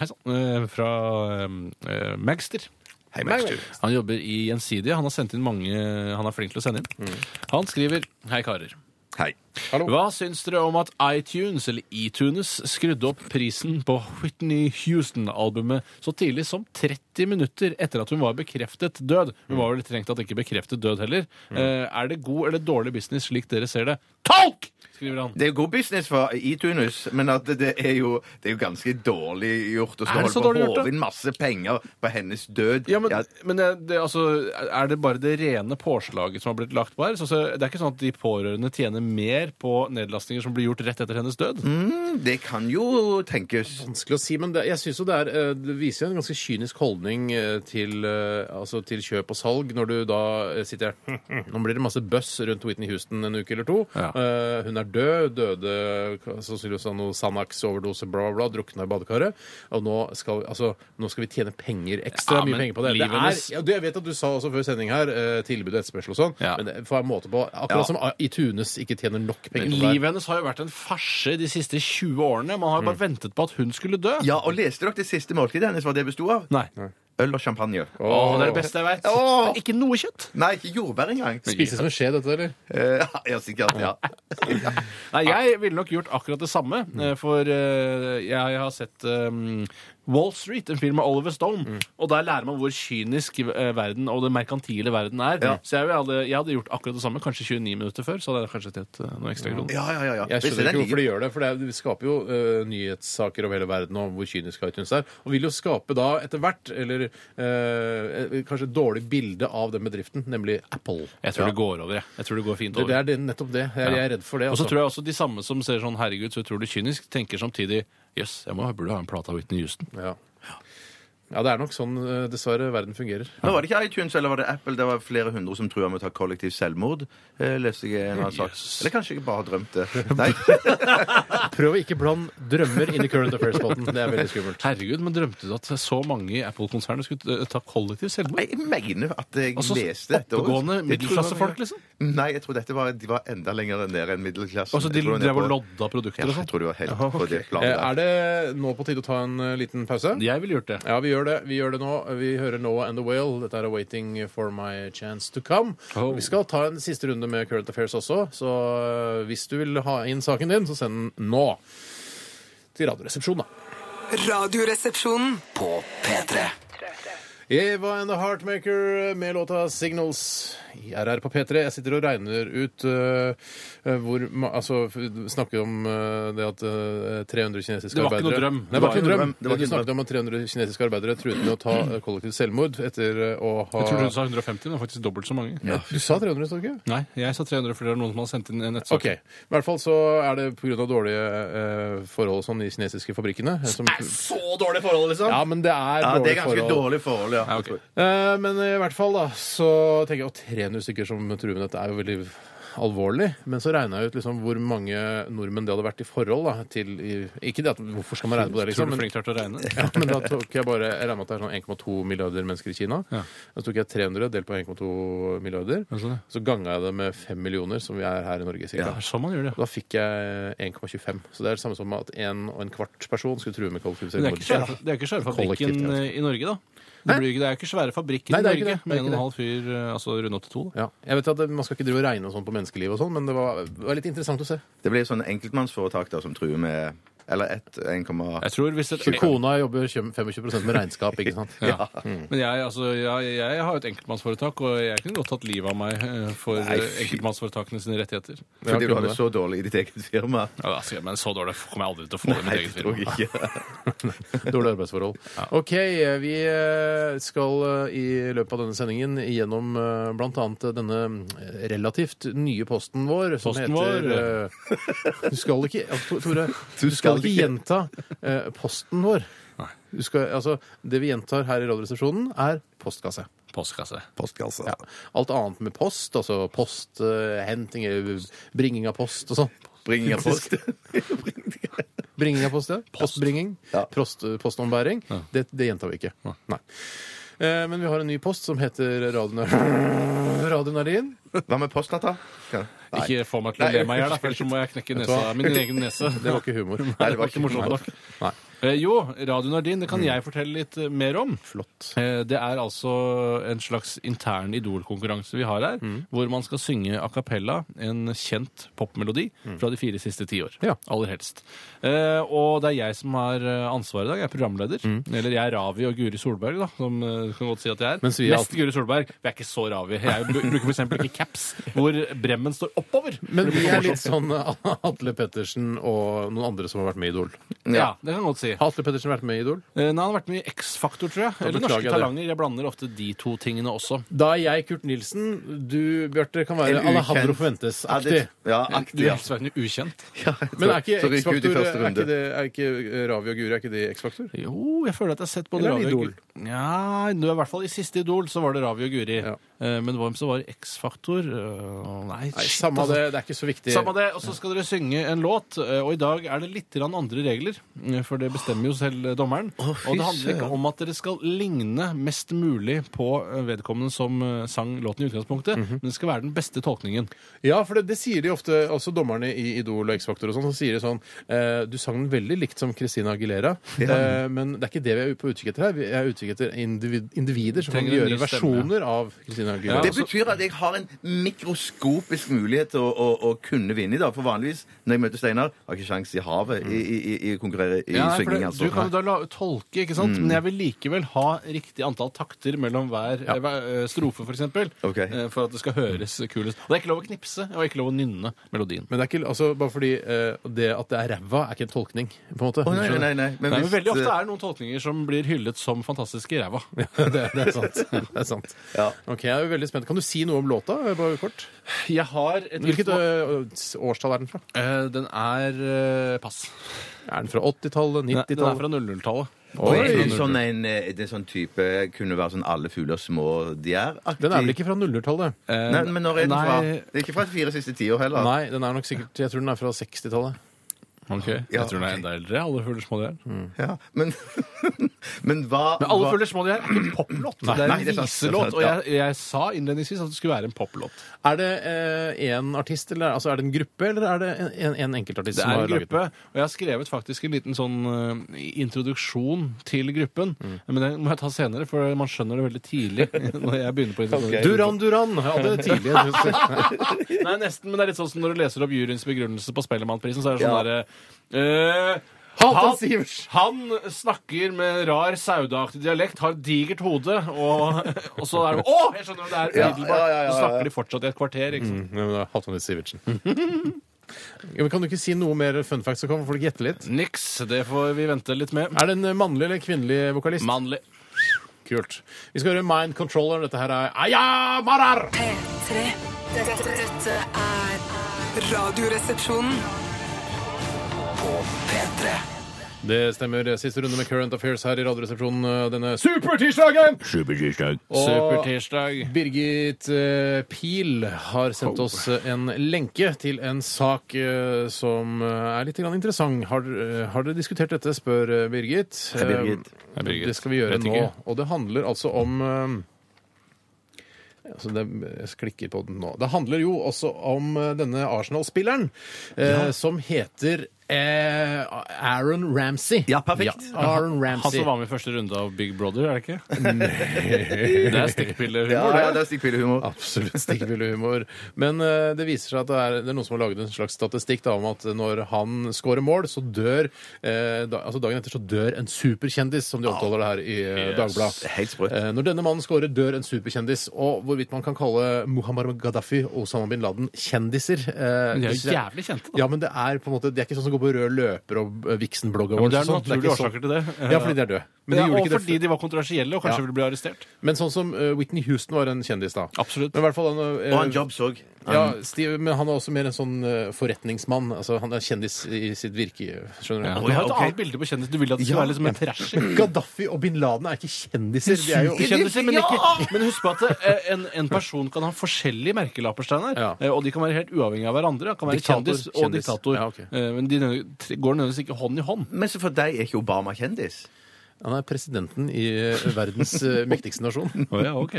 Hei sann. eh, Fra eh, Magster.
Hei, Max, du.
Han jobber i Gjensidige. Han har sendt inn mange Han er flink til å sende inn. Han skriver Hei, karer.
Hei.
Hallo.
Hva syns dere om at iTunes, eller iTunes, skrudde opp prisen på Whitney Houston-albumet så tidlig som 30 minutter etter at hun var bekreftet død? Hun var vel strengt tatt ikke bekreftet død heller. Eh, er det god eller dårlig business slik dere ser det? Tolk! skriver han.
Det er god business for iTunes, men at det er jo, det er jo ganske dårlig gjort å
Er det
holde
så
på å
dårlig gjort, da?
håve inn masse penger på hennes død.
Ja, men,
Ja,
men det, det, altså, Er det bare det rene påslaget som har blitt lagt på her? Så, så, det er ikke sånn at de pårørende tjener mer på nedlastninger som blir gjort rett etter hennes død?
det kan jo tenkes.
Vanskelig å si, men det, jeg synes jo det, er, eh, det viser jo en ganske kynisk holdning eh, til, eh, altså til kjøp og salg når du da eh, sitter her Nå blir det masse buzz rundt Whitney Houston en uke eller to.
Ja.
Eh, hun er død, døde sannsynligvis av noe Sanax-overdose, bla, bla, bla, drukna i badekaret. Og nå skal, vi- altså, nå skal vi tjene penger ekstra
Ja,
mye
men
penger på det. det
livet
er,
hennes-
ja, du, jeg vet at du sa også før sending her eh, tilbud og etterspørsel og sånn,
Ja.
men det får være måte på. Akkurat
Ja.
som Itunes ikke tjener nok penger på det. her.
Livet hennes har jo vært en farse de siste 20 årene. Man har jo bare ventet på at hun skulle dø.
Ja, og leste dere det siste måltidet hennes, hva det bestod av?
Nei.
Øl og champagne.
Åh, det er det beste jeg vet.
Åh!
Det er Ikke noe kjøtt.
Nei, ikke jordbær engang.
Spises med skje, dette, eller?
Eh, Ja, sikkert. Ja.
Nei, jeg ville nok gjort akkurat det samme, eh, for eh, jeg har sett eh, Wall Street, en film av Oliver Stone, og der lærer man hvor kynisk eh, verden og den merkantile verden er. Så jeg hadde, jeg hadde gjort akkurat det samme, kanskje 29 minutter før, så hadde jeg kanskje tjent eh, noen ekstra kroner.
Ja, ja, ja, ja.
Jeg
Hvis
skjønner ikke
den
hvorfor de
ligger-
gjør det, for det, er, det skaper jo eh, nyhetssaker over hele verden om hvor kynisk iTunes er, og vil jo skape da etter hvert, eller eh, kanskje et dårlig bilde av den bedriften, nemlig Apple.
Jeg tror det går over, jeg. Jeg tror det går fint
Det,
over.
det er det, nettopp det. Jeg, jeg er redd for det.
Og så
altså.
tror jeg også de samme som ser sånn herregud, så utrolig kynisk, tenker samtidig jøss, jeg må, burde ha en plate av Whitney Houston.
ja. ja, det er nok sånn eh, dessverre verden fungerer.
Nå var det ikke iTunes eller var det Apple. Det var flere hundre som trua med å ta kollektiv selvmord. eh, Leste jeg en eller annen sak.
Jesus.
Eller kanskje jeg bare har drømt det. Nei.
Prøv å ikke blande drømmer inn i current affairs-spotten. Det er veldig skummelt.
Herregud, men drømte du at så mange i Apple-konsernet skulle eh, ta kollektiv selvmord?
Jeg mener at jeg
Altså,
leste dette også.
oppegående
Det du
middelklassefolk,
sa,
liksom?
Nei, jeg tror dette var, de var enda lenger ned enn middelklassen.
Altså, de
Jeg tror
drev
nede
og
på-
lodda produkter
Ja,
og
jeg
sånt?
tror de var helt på det
Eh,
planet. der.
Er det nå på tide å ta en eh, liten pause?
Jeg ville gjort det.
Ja, vi gjør det. Vi gjør det nå. Vi hører Noah and the Whale. Dette er Waiting for my chance to come.
Oh.
Vi skal ta en siste runde med Current Affairs også, så øh, hvis du vil ha inn saken din, så send den nå. Til Radioresepsjonen, da.
Radioresepsjonen.
På P3
Eva and the Heartmaker med låta 'Signals' i RR på P3. Jeg sitter og regner ut øh, øh, hvor ma- Altså, f- snakker om øh, det at øh, 300 kinesiske
Det var
arbeidere
ikke noe drøm.
Nei, det var ikke noe drøm.
Det var ikke
Du
noe
snakket om at 300 kinesiske arbeidere truet med å ta øh, kollektivt selvmord etter øh, å ha
Jeg tror du sa 150, men faktisk dobbelt så mange.
Du sa 300, sa du ikke?
Nei, jeg sa 300 fordi det er noen som har sendt inn en nettsak.
Ok. I hvert fall så er det pga. dårlige eh, forhold og sånn i de kinesiske fabrikkene. eh, Som,
Så dårlige forhold, liksom!
ja, men det er
Ja, det er
dårlige
ganske
forhold.
dårlig forhold, ja.
Ja, ok.
Eh, men i hvert fall, da, så tenker jeg at 300 stykker som truer med dette, er jo veldig alvorlig, men så regna jeg ut liksom hvor mange nordmenn det hadde vært i forhold da, til i, Ikke det at Hvorfor skal man regne på det,
Tror
liksom?
du
Men,
flink du er til å regne?
ja, men da tok jeg bare Jeg regna med at det er sånn 1,2 milliarder mennesker i Kina. Så tok jeg 300 delt på 1,2 milliarder.
sånn, ja.
Så ganga jeg det med 5 millioner, som vi er her i Norge.
Det
cirka.
er sånn man gjør det.
Og Da fikk jeg 1,25. Så det er det samme som at en og en kvart person skulle true med kollektiv
Men det er ikke
selvmord.
svære, det er ikke svære
Kollektivt,
fabrikken
ja.
eh, i Norge, da. Det,
Nei.
blir ikke, det er ikke svære fabrikken
Nei, det er
i
ikke det.
Norge
Det er
med en og
ikke
en halv fyr, eh, altså runde 82. da.
Ja. Jeg vet at eh, Man skal ikke drive og regne og sånn på menneskeliv, og sånn, men det var, det var litt interessant å se.
Det blir sånn enkeltmannsforetak da, som truer med Eller ett 1,5
Jeg tror hvis et,
Så kona jobber 25 med regnskap, ikke sant?
Ja. Men jeg, altså, jeg, jeg har jo et enkeltmannsforetak, og jeg kunne godt tatt livet av meg eh, for
Nei,
eh,
fy.
enkeltmannsforetakene sine rettigheter.
Fordi du
kunne
har det
det.
så dårlig i ditt eget firma.
Ja, altså, men så dårlig kommer jeg aldri til å få det i mitt
Nei, det
eget
tror
firma.
jeg ikke.
Dårlige arbeidsforhold. OK, eh, vi eh, skal eh, i løpet av denne sendingen gjennom bl.a. denne eh, relativt nye posten vår som
Posten
heter
vår.
eh, Du skal ikke ja, Tor- Tore, du skal
skal
ikke
ikke.
gjenta eh, posten vår. Du skal, altså, det vi gjentar her i Radioresepsjonen, er postkasse.
Postkasse.
Postkasse.
Ja. Alt annet med post, altså posthenting, bringing av post og sånn.
Bringing av post.
Bringing av post, ja. Postbringing.
Ja.
Post, postombæring. Det, det gjentar vi ikke. Nei. Eh, Men vi har en ny post som heter Radionardin. Radionardin.
Hva med postnatta? Nei,
Ikke få meg til å le meg i hjel, da, for ellers så må jeg knekke nesa, min egen nese.
Det var ikke humor.
Nei, det var ikke morsomt nok.
Nei.
Eh, Jo, Radio Nardin, det kan
Mm.
jeg fortelle litt eh, mer om.
Flott.
Eh, Det er altså en slags intern idolkonkurranse vi har her,
Mm.
hvor man skal synge a cappella en kjent popmelodi fra de fire siste ti år.
Mm. Ja.
Aller helst. Eh, og det er jeg som har eh, ansvaret i dag. Jeg er programleder.
Mm.
Eller jeg er Ravi og Guri Solberg, da, som eh, du kan godt si at jeg er.
Mens vi er
Mest
alltid-
Guri Solberg. Vi er ikke så Ravi. Jeg br- bruker f.eks. ikke caps hvor bremmen står oppover.
Men vi er litt sånn eh, Atle Pettersen og noen andre som har vært med i Idol.
Ja, det kan jeg godt si.
Har Atle Pettersen vært med i Idol?
Eh, Nei, han har vært med i X-Faktor, tror jeg.
beklager
Eller
jeg
Norske
det.
Talanger. Jeg blander ofte de to tingene også.
Da er jeg Kurt Nilsen. Du, Bjarte, kan være
En ukjent-
Alejandro Forventes-aktig.
Ja,
Altså, Du
aktig.
er
Ja.
dessverre ukjent.
Men er ikke
Så ryker vi ut i
X-Faktor
første
er
runde.
ikke, det, er ikke eh, Ravi og Guri er ikke det X-Faktor?
Jo, jeg føler at jeg har sett både
Eller er det
Ravi og
Idol?
Guri. Ja, nå er i hvert fall i siste Idol så var det Ravi og Guri.
Ja.
Eh, Men hvem som var i X-Faktor Eh, Nei,
Nei,
shit,
samme
altså.
det. Det er ikke så viktig.
Samme det, og så skal dere synge en låt, eh, og i dag er det litt grann andre regler, eh, for det bestemmer jo selv eh, dommeren. Og det handler ikke om at dere skal ligne mest mulig på eh, vedkommende som eh, sang låten i utgangspunktet,
Mhm.
men det skal være den beste tolkningen.
Ja, for det, det sier de ofte, altså dommerne i Idol og X-Faktor og sånn, så sier de sånn eh, Du sang den veldig likt som Christina Aguilera, eh, men det er ikke det vi er på utkikk etter her. Vi er ute etter individ, individer som kan
Trenger en ny
gjøre
stemme.
versjoner av Christina Aguilera.
Det betyr at jeg har en mikroskopisk mulighet til å, å, å kunne vinne. da, For vanligvis når jeg møter Steinar, har jeg ikke sjans i havet i, i, i, i å konkurrere i
Ja, nei, for
synging.
det,
altså. Mm.
du kan jo da la, tolke, ikke sant? men jeg vil likevel ha riktig antall takter mellom hver, eh, hver eh, strofe, for eksempel,
Ok.
eh, for at det skal høres kulest. Og det er ikke lov å knipse, og ikke lov å nynne melodien.
Men det er ikke, altså, bare fordi eh, det at det er ræva, er ikke en tolkning, på en måte.
Å, nei, nei, nei, nei.
Nei, men
hvis,
veldig ofte
eh,
er det noen tolkninger som blir hyllet som fantastiske ræva.
det, det er sant. Det er sant.
Ja.
Ok, Jeg er jo veldig spent. Kan du si noe om låta? eh, Bare kort.
Jeg har et
Hvilket eh, årstall er den fra?
Eh, Den er eh, pass.
Er den fra 80-tallet?
Den er, den er
90-tallet?
fra 00-tallet.
Oi,
Oi,
en sånn en, eh, det er sånn type kunne være sånn alle fugler små de er?
Den er vel ikke fra 00-tallet?
Nei, men når er den fra?
Eh, Nei.
Det er ikke fra de fire siste tiår heller.
Nei, den er nok sikkert Jeg tror den er fra 60-tallet.
Ok, Jeg tror den er enda eldre. Alle fugler små de er.
Ja, men, men hva
Men alle
Mm. hva-
fugler små de er er ikke en poplåt. Det er
nei,
en
det er sant, det er sant,
viselåt. Og jeg, jeg sa innledningsvis at det skulle være en poplåt.
Er det én artist, eller altså er det en gruppe, eller er det en, en, en enkeltartist
Det
som
er
har
en
laget
gruppe, og jeg har skrevet faktisk en liten sånn eh, introduksjon til gruppen. Men den må jeg ta senere, for man skjønner det veldig tidlig. når jeg begynner på introduksjonen.
den? Duran Duran! Ja, det er tidlig.
Nei, nesten, men det er litt sånn som når du leser opp juryens begrunnelse på Spellemannprisen, så er det sånn
Ja.
derre eh,
Halvdan
han,
Sivers!
han snakker med rar saudeaktig dialekt, har digert hode, og, og så er det Å, jeg skjønner hva det er!
Ja,
Umiddelbart.
ja, ja, ja, ja.
Så snakker de fortsatt i et kvarter.
Mm.
Ikke sant?
Halvdan Sivertsen. Ja, men kan du ikke si noe mer fun fact, så kan folk gjette litt?
Niks. Det får vi vente litt med.
Er det en mannlig eller kvinnelig vokalist?
Mannlig.
Kult. Vi skal høre Mind Controller. Dette her er Aya Marar!
P3. Dette, dette er Radioresepsjonen.
På P3
Det stemmer. Siste runde med Current Affairs her i Radioresepsjonen eh, denne supertirsdagen! Og-
Supertirsdag.
Birgit eh, Pil har sendt oss eh, en lenke til en sak eh, som eh, er litt grann interessant. Har, eh, har dere diskutert dette, spør eh, Birgit.
Hei, Birgit.
Eh, Det skal vi gjøre
Vet
nå.
ikke.
Og det handler altså om eh, altså det, jeg klikker på den nå. Det handler jo også om eh, denne Arsenal-spilleren eh, som heter eh, Aaron Ramsey.
Ja, perfekt.
Aaron
Han
Ramsey.
som var med i første runde av Big Brother, er det ikke? Det er
Ja,
stikkpillehumor,
ja,
det.
det er stikkpillehumor.
Absolutt stikkpillehumor. Men eh, det viser seg at det er, det er noen som har laget en slags statistikk da, om at når han scorer mål, så dør eh, da, altså Dagen etter så dør en superkjendis, som de omtaler det her i eh,
Yes.
Dagbladet.
Helt sprøtt.
Eh, når denne mannen scorer, dør en superkjendis. Og hvorvidt man kan kalle Muhammad Gaddafi og Osama bin Laden kjendiser eh,
De er
synes
jo
jeg-
jævlig kjente, da.
Ja, men det er på en måte, det er ikke sånn som går på rød løper og eh, Vixen-blogg. og
Men det er
sånt.
naturlige
ikke sånn-
årsaker til det.
Ja, fordi de er døde. Men de
Ja,
gjorde
og
ikke det
fordi de var kontroversielle og kanskje
Ja.
ville bli arrestert.
Men sånn som eh, Whitney Houston var en kjendis da.
Absolutt.
Men i hvert fall han, eh,
Og han Jobs òg.
ja,
Um,
Steve, men han er også mer en sånn eh, forretningsmann. Altså, han er kjendis i sitt virke. Skjønner du?
Du
Å, ja,
har et
ok.
annet bilde på kjendis. Du vil at det skal
Ja.
være liksom en trasher.
Gaddafi og bin Laden er ikke kjendiser. De er jo
Kjendiser, men, ikke, men husk på at eh, en, en person kan ha forskjellige merkelapper, Steinar.
Ja.
eh, Og de kan være helt uavhengige av hverandre. Det Kan være
Diktator,
kjendis og
kjendis.
diktator.
Ja, ok.
Eh, Men de nød- tre- går nødvendigvis ikke hånd i hånd.
Men så for deg er ikke Obama kjendis?
Han er presidenten i eh, verdens eh, mektigste nasjon.
Oh, ja, ok.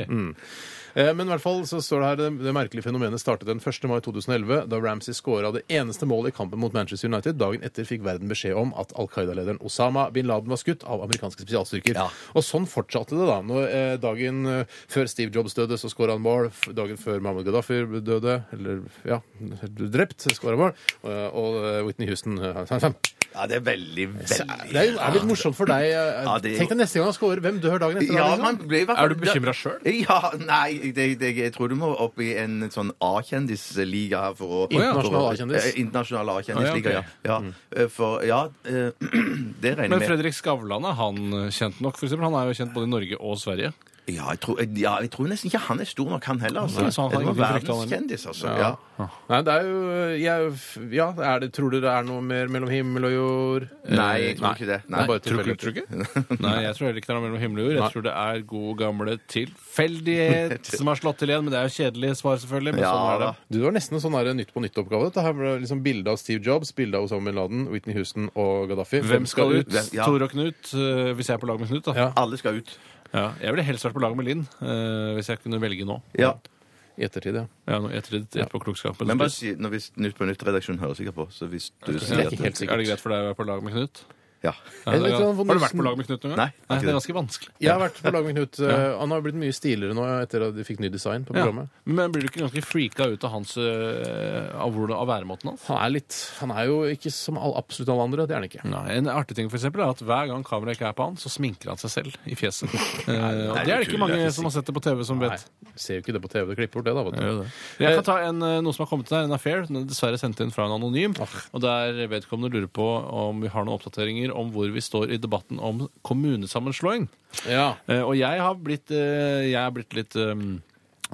Eh, Men i hvert fall så står det her det, det merkelige fenomenet startet den 1. mai 2011, da Ramsey skåra det eneste målet i kampen mot Manchester United. Dagen etter fikk verden beskjed om at Al Qaida-lederen Osama bin Laden var skutt av amerikanske spesialstyrker. Og sånn fortsatte det, da. Når, eh, dagen eh, før Steve Jobs døde, så skåra han mål. F- Dagen før Mahmoud Gaddafi døde, eller ja, drept, skåra mål. Eh, Og eh, Whitney Houston eh,
Ja, det er veldig,
Det er jo er litt morsomt for deg. eh,
Ja, det er jo-
Tenk deg neste gang han scorer. Hvem dør dagen etter? da,
Ja,
liksom?
man blir i hvert
Er
fall
du bekymret selv?
Ja, nei, det, det, jeg tror du må opp i en sånn A-kjendisliga her for å
Internasjonal
for å-
A-kjendis?
Eh, internasjonal A-kjendisliga,
Ah, ja,
ja.
ok.
ja. eh, For ja, eh, det regner
Men
jeg med.
Fredrik Skavlan, er han eh, kjent nok? For eksempel, han er jo kjent både i Norge og Sverige.
Ja jeg, tror, ja, jeg tror nesten ikke han er stor nok, han heller. Altså.
Nei, så han kan
det må
ikke frykte han heller.
verdenskjendis, altså. Ja.
Nei, det er jo jeg, Ja, er det, tror dere det er noe mer mellom himmel og jord? Eh,
Nei, jeg tror ikke det. Nei,
bare
Tror ikke, tror ikke? Nei, jeg tror heller ikke det er noe mellom himmel og jord.
Nei.
Jeg tror det er god gamle tilfeldighet som har slått til igjen. Men det er jo kjedelig svar, selvfølgelig. Men
Ja,
sånn er det.
da.
Du det var nesten en sånn her Nytt på nytt-oppgave. Dette her ble liksom Bilde av Steve Jobs, bilde av Osama bin Laden, Whitney Houston og Gaddafi.
Hvem skal ut?
Hvem- ja.
Tore og Knut, eh, hvis jeg er på lag med Knut, da.
Ja.
Alle skal ut.
Ja, jeg ville helst vært på lag med Linn, eh, hvis jeg kunne velge nå.
Ja.
I ettertid, ja.
Ja, nå etter det etterpå klokskapen.
Men bare si, når hvis Nytt på Nytt-redaksjonen hører sikkert på, så hvis du
Ja,
sier
det er
at
ikke helt sikkert.
Er det greit for deg å være på lag med Knut?
Ja.
Ja,
Jeg vet
det er greit.
ikke om-
Har du vært på lag med Knut noen gang?
Nei, ikke
det er
det.
ganske vanskelig.
Jeg har vært på lag med Knut. eh, Han har blitt mye stiligere nå etter at de fikk ny design på
Ja.
programmet.
Men blir du ikke ganske freaka ut av hans eh, av, hvordan, av væremåten hans?
Han er litt Han er jo ikke som all, absolutt alle andre. Det er han
Mm.
ikke.
Nei, En artig ting for eksempel, er at hver gang kameraet ikke er på han, så sminker han seg selv i fjeset. Eh, og det er det ikke mange som har sett det på TV, som
Nei,
vet.
Ser jo ikke det på TV. Du klipper bort det, da. vet du.
Jeg kan ta en, eh, noe som har kommet inn her, en affair, den er dessverre sendt inn fra en anonym. Og der vedkommende lurer på om vi har noen oppdateringer om hvor vi står i debatten om kommunesammenslåing.
Ja.
Eh, og jeg har blitt, eh, jeg er blitt litt eh,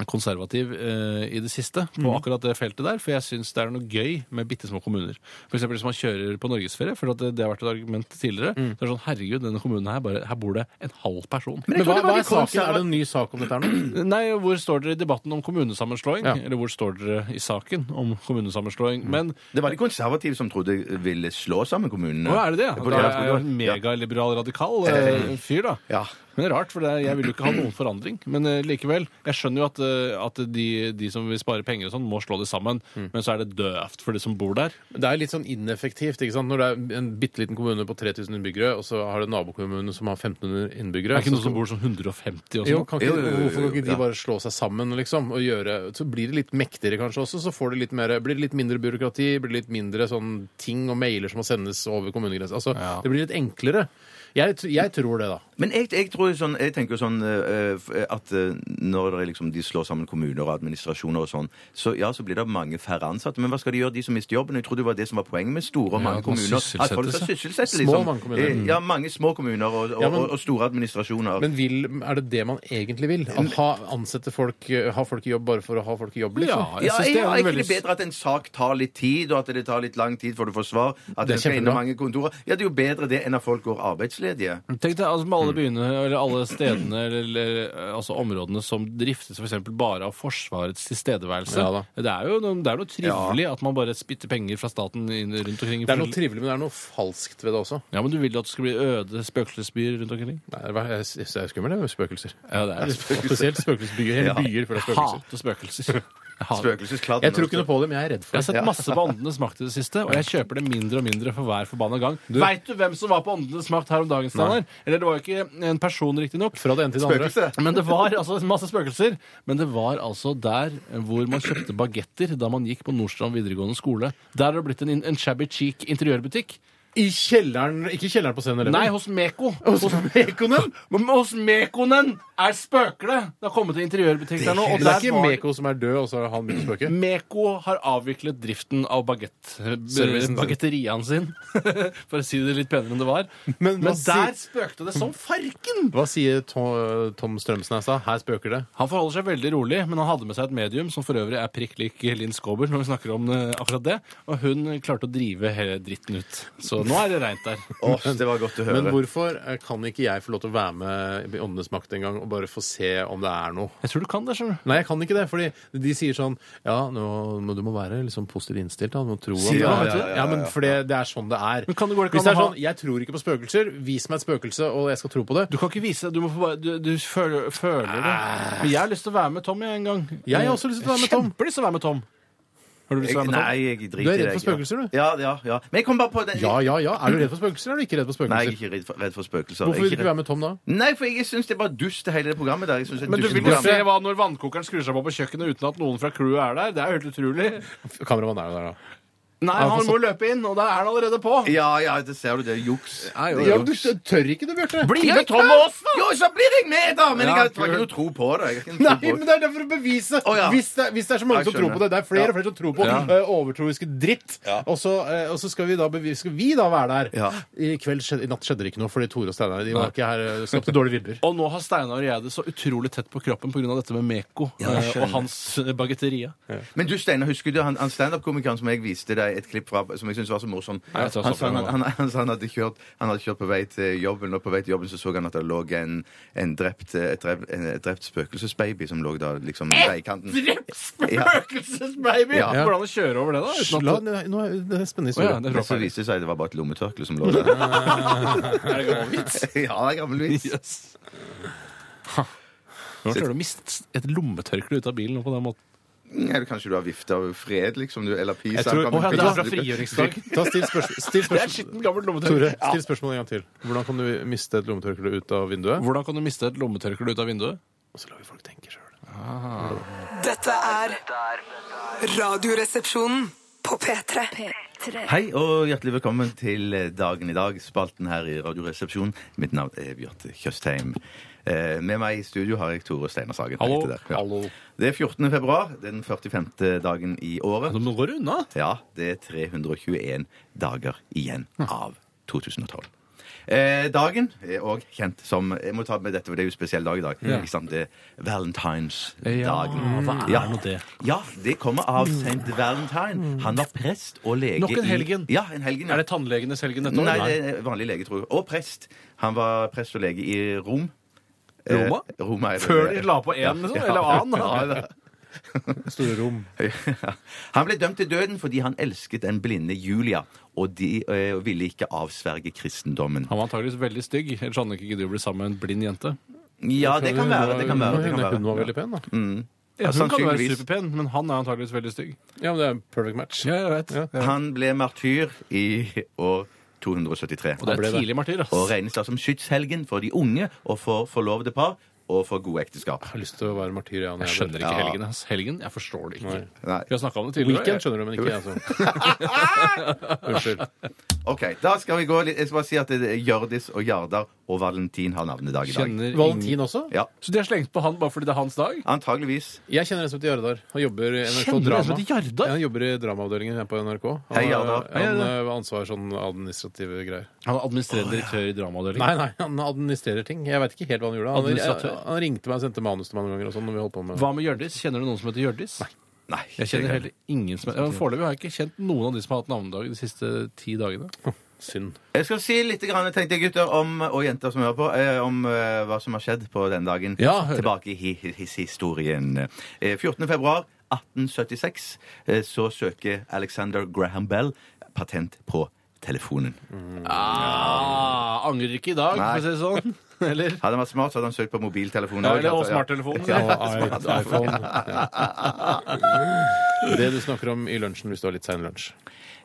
konservativ eh, i det siste på
Mm.
akkurat det feltet der, for jeg syns det er noe gøy med bitte små kommuner. For eksempel hvis man kjører på norgesferie, for at det, det har vært et argument tidligere.
Mm.
Så er det sånn, herregud, denne kommunen her, bare, her bor det en halv person.
Men hva,
det var
hva
de
er saken?
konserva-
Er det en ny sak om dette her nå?
Nei, hvor står dere i debatten om kommunesammenslåing?
Ja. Mm.
Eller hvor står dere i saken om kommunesammenslåing? Men
Det var de konservative som trodde ville slå sammen kommunene.
Nå er det det, ja.
Jeg tror
Da
det
er jeg jo en
Ja.
megaliberal radikal eh, fyr, da.
Ja.
Men det er rart, for det er, jeg vil jo ikke ha noen forandring. Men eh, likevel. Jeg skjønner jo at, eh, at de, de som vil spare penger og sånn, må slå det sammen. Men så er det døvt for de som bor der.
Det er litt sånn ineffektivt ikke sant? når det er en bitte liten kommune på 3000 innbyggere, og så har du en nabokommune som har 1500 innbyggere.
Det er
så
ikke noen som bor sånn 150 og
jo,
sånn.
kan ikke,
Jo, jo, jo, jo,
Hvorfor kan ikke de
ja.
bare slå seg sammen, liksom? og gjøre, Så blir det litt mektigere kanskje også. Så får det litt mer, blir det litt mindre byråkrati, blir det litt mindre sånn ting og mailer som må sendes over kommunegrenser. Altså,
Ja.
Det blir litt enklere. Jeg, t- jeg tror det, da.
Men jeg, jeg, tror jo sånn, jeg tenker jo sånn eh, eh, at eh, når det er liksom, de slår sammen kommuner og administrasjoner og sånn, så, ja, så blir det mange færre ansatte. Men hva skal de gjøre, de som mister jobben? Jeg tror det var det som var poenget med store og
Ja,
mange
at man
kommuner. At folk skal
sysselsetter
sysselsette,
Små
liksom.
mange kommuner.
Eh, Ja, mange små kommuner og, og,
Ja, men-
og, og store administrasjoner.
Men vil, er det det man egentlig vil? Å ha, ansette folk, eh, ha folk i jobb bare for å ha folk i jobb, liksom?
ja,
Ja, jeg synes
jeg,
det
ja, er
er en
ikke det
veldig
bedre at en sak tar litt tid, og at det tar litt lang tid før du du får svar. At
Det er
det skal innom
kjempebra.
mange kontorer. Ja, det er jo bedre det enn at folk går arbeidsledige.
Mm.
Tenk deg altså, med alle byene, eller alle stedene, eller, eller eh, altså, områdene som driftes f.eks. bare av Forsvarets tilstedeværelse.
Ja da.
det er jo noe, det er noe trivelig at man bare spytter penger fra staten inn rundt omkring.
Det er noe trivelig, men det er noe falskt ved det også.
ja, men du vil jo at det skal bli øde spøkelsesbyer rundt omkring?
Nei, det er- jeg synes det er skummelt, det med spøkelser.
Ja, det er spøkelser.
Spesielt spøkelsesbyer. Hele
Ja.
byer fulle av
Jeg
spøkelser.
hater spøkelser. Jeg hater
Spøkelseskladden.
Jeg tror ikke noe på det, men jeg er redd for
Jeg har
det.
sett masse på Åndenes makt i det siste, og jeg kjøper det mindre og mindre for hver forbanna gang. Veit du hvem som var på Åndenes makt her om dagen, Steinar? Eller det var jo ikke en person, riktignok.
Fra det ene til det andre.
Spøkelse?
Men det var altså masse spøkelser. Men det var altså der hvor man kjøpte bagetter da man gikk på Nordstrand videregående skole. Der har det blitt en, en shabby cheek interiørbutikk.
I kjelleren Ikke kjelleren på scenen,
Nei,
eller?
hos Meko.
hos Mekonen!
Men hos Mekonen er spøker det! Det har kommet en interiørbutikk der nå. Og
Det er
der
ikke
var Mm.
Meko som er død, og så har han begynt å spøke?
Meko har avviklet driften av bagett,
sin.
bagetteriaen sin, for å si det litt penere enn det var.
Men
Men,
hva
der spøkte det som farken!
Hva sier Tom, Tom Strømsnes da? Her spøker det.
Han forholder seg veldig rolig, men han hadde med seg et medium som for øvrig er prikk lik Linn Skåber når vi snakker om eh, akkurat det, og hun klarte å drive hele dritten ut. Så nå er det reint der.
Åh, det var godt å høre.
Men hvorfor eh, kan ikke jeg få lov til å være med i Åndenes makt en gang og bare få se om det er noe?
Jeg tror du kan det, skjønner du.
Nei, jeg kan ikke det, fordi de sier sånn Ja, nå, må- du må være liksom positivt innstilt. da. Du må tro at-
Sier de det?
ja, vet du
Ja,
det?
ja, ja,
ja, men
ja.
for det, det er sånn det er.
Men kan det gå- kan
Hvis det er
man ha-
sånn Jeg tror ikke på spøkelser. Vis meg et spøkelse, og jeg skal tro på det.
Du kan ikke vise det. Du, må få bare, du, du føler, føler det. Men jeg har lyst til å være med Tom jeg, en gang.
Jeg har også lyst til å være med Tom.
Ah. Kjempelyst til å være med Tom. Har du lyst til
Jeg,
å være med Tom?
nei, jeg driter i det.
Du er redd for
jeg, ja.
spøkelser, du?
Ja, ja, ja. Men jeg kom bare på det.
Ja, ja, ja. Er du redd for spøkelser, eller er du ikke redd for
Nei, jeg er
spøkelser?
ikke redd for, redd for spøkelser.
Hvorfor vil du
Jeg er
ikke være med Tom da?
redd- Nei, for jeg syns det er bare dust, det hele det programmet der. Jeg synes det er
Men du
dust
vil jo
program.
se hva når vannkokeren skrur seg på på kjøkkenet uten at noen fra crewet er der. Det er jo helt utrolig.
Kameramannen er jo der, da.
Nei,
Ja, for
han må løpe inn, og da er han allerede på.
Ja, ja, det ser du, det er juks. Det er
Ja, men
juks.
du tør ikke det, Bjarte.
Bli
Ja,
med Tom
ja.
og oss, da!
Jo, så blir jeg med, da!
Ja,
Men jeg har jeg har
kult.
ikke noe tro på det. Jeg har ikke noe
Nei,
tro på
men det er derfor å bevise
Å, ja.
hvis, det, hvis det er så mange
Jeg
som tror
skjønner.
på det. Det er flere
Ja.
og flere som tror på
Ja.
eh, overtroiske dritt. Og, så, eh, og så skal vi da bevise, skal vi da være der.
Ja.
I kveld skjedde, i natt skjedde det ikke noe, fordi Tore og Steinar de
Nei.
var ikke her, eh, skapte dårlige vibber.
Og nå har Steinar og jeg det så utrolig tett på kroppen pga. dette med Meko
Ja, jeg
eh,
skjønner.
og hans eh, bagetteria.
Men du, Steinar, husker du han, han standup-komikeren som jeg viste deg et klipp fra, som jeg syntes var så morsom?
Nei, jeg tror
han,
jeg
sa
så
han,
på
han, han sa han hadde kjørt Han hadde kjørt på vei til jobben, og på vei til jobben så så han at det lå en, en drept eh, et drept, en, et drept spøkelsesbaby som lå da liksom i veikanten.
Drept
Ja.
spøkelsesbaby!
Ja.
Går det an å kjøre over det, da? Uten
La,
at,
nå er det er en spennende
Å
historie.
ja, det er
Men
bra
så
ferdig.
viste det seg at det var bare et lommetørkle som lå der.
Er det gammel vits?
ja, gammelvis.
Yes. Ha. Hvordan klarer du å miste et lommetørkle ut av bilen nå på den måten?
Eller kanskje du har vifta av fred, liksom? Du, eller pisa?
Jeg tror-
kan vi
Å, ja, det
Det
pisa?
er fra
Du kan-
frigjøringsdag.
Da still spørsmål, still
Det er et
spørsmål.
skittent gammelt
Tore,
lommetørkle.
still spørsmålet en gang til. Hvordan kan du miste et lommetørkle ut av vinduet?
Hvordan kan du miste et lommetørkle ut av vinduet?
Og så lar vi folk tenke sjøl.
Dette er
Radioresepsjonen på P3.
Hei og hjertelig velkommen til Dagen i dag, spalten her i Radioresepsjonen. Mitt navn er Bjarte Tjøstheim. Eh, Med meg i studio har jeg Tore Steinar Sagen.
Hallo.
Jeg heter der.
Hallo.
Det er 14. februar, det er den 45. dagen i året.
Nå går det unna.
Ja, det er 321 dager igjen av 2012. Eh, dagen er òg kjent som Jeg må ta med dette, for det er jo en spesiell dag i dag. Ikke sant? Det er Valentine's-dagen.
Ja, hva er
ja.
nå det? Mm.
Ja, det kommer av St. Valentine. Han var prest og lege
Nok en
i-
helgen.
Ja, en helgen, ja.
Er det tannlegenes helgen dette
Nei,
året?
det er vanlig lege, tror jeg. Og prest. Han var prest og lege i Rom. Eh,
Roma?
Roma er det-
Før de la på en, liksom? Eller annen?
Ja, ja.
Store rom.
Han ble dømt til døden fordi han elsket den blinde Julia, og de eh, ville ikke avsverge kristendommen.
Han var antakeligvis veldig stygg, ellers hadde han ikke giddet å bli sammen med en blind jente.
Ja, det kan være. det kan være, det kan
Hun var
være.
veldig pen, da.
Ja, hun kan jo være
sannsynligvis.
superpen, men han er antakeligvis veldig stygg.
Ja, men det er en perfect match.
jeg vet.
Han ble martyr i år 273.
Og det
ble
er
det.
tidlig martyr, ass.
Og regnes da som skytshelgen for de unge og for forlovede par og for gode ekteskap.
Jeg har lyst til å være martyr, jeg. når
Jeg
jeg
skjønner ikke
Ja.
helgen, ass. Helgen, jeg forstår det ikke.
Nei.
Vi har snakka om det
dør.
tidligere.
Weekend skjønner du, men ikke jeg, altså. Unnskyld.
Ok, da skal vi gå litt Jeg skal bare si at det er Hjørdis og Jardar og Valentin har navnedag i dag.
Kjenner ingen-
Valentin også?
Ja,
Så de har slengt på han bare fordi det er hans dag?
Antageligvis.
Jeg kjenner en som heter Jardar. Han jobber i NRK
Kjenner du en
Drama.
som heter Jardar?
Ja, han jobber i dramaavdelingen her på NRK. Han,
Hei, Jardar.
Han,
Hei, Jardar.
eh, har ansvar sånn administrative greier.
Han er administrerende direktør i dramaavdelingen.
Nei, nei, han administrerer ting. Jeg veit ikke helt hva han gjorde. Han,
Administratør?
han ringte meg og sendte manus til meg noen ganger og sånn når vi holdt på med
Hva med Hjørdis? Kjenner du noen som heter Hjørdis? Nei.
Nei.
Jeg kjenner heller ingen som er ja, men Foreløpig har jeg ikke kjent noen av de som har hatt navnedag de siste ti dagene.
Synd.
Jeg skal si litt, grann, tenkte jeg, gutter om, og jenter som hører på, eh, om eh, hva som har skjedd på den dagen.
Ja, hør.
Tilbake i hi- hi- his historien. Eh, 14. februar 1876 eh, så søker Alexander Graham Bell patent på telefonen.
Mm. Ah, angrer ikke i dag,
Nei.
for å si det sånn. Eller?
Hadde han vært smart, så hadde han søkt på mobiltelefonen.
Ja, eller og smarttelefonen.
Ja, i- iPhone. Ja. Det du snakker om i lunsjen hvis du har litt sein lunsj.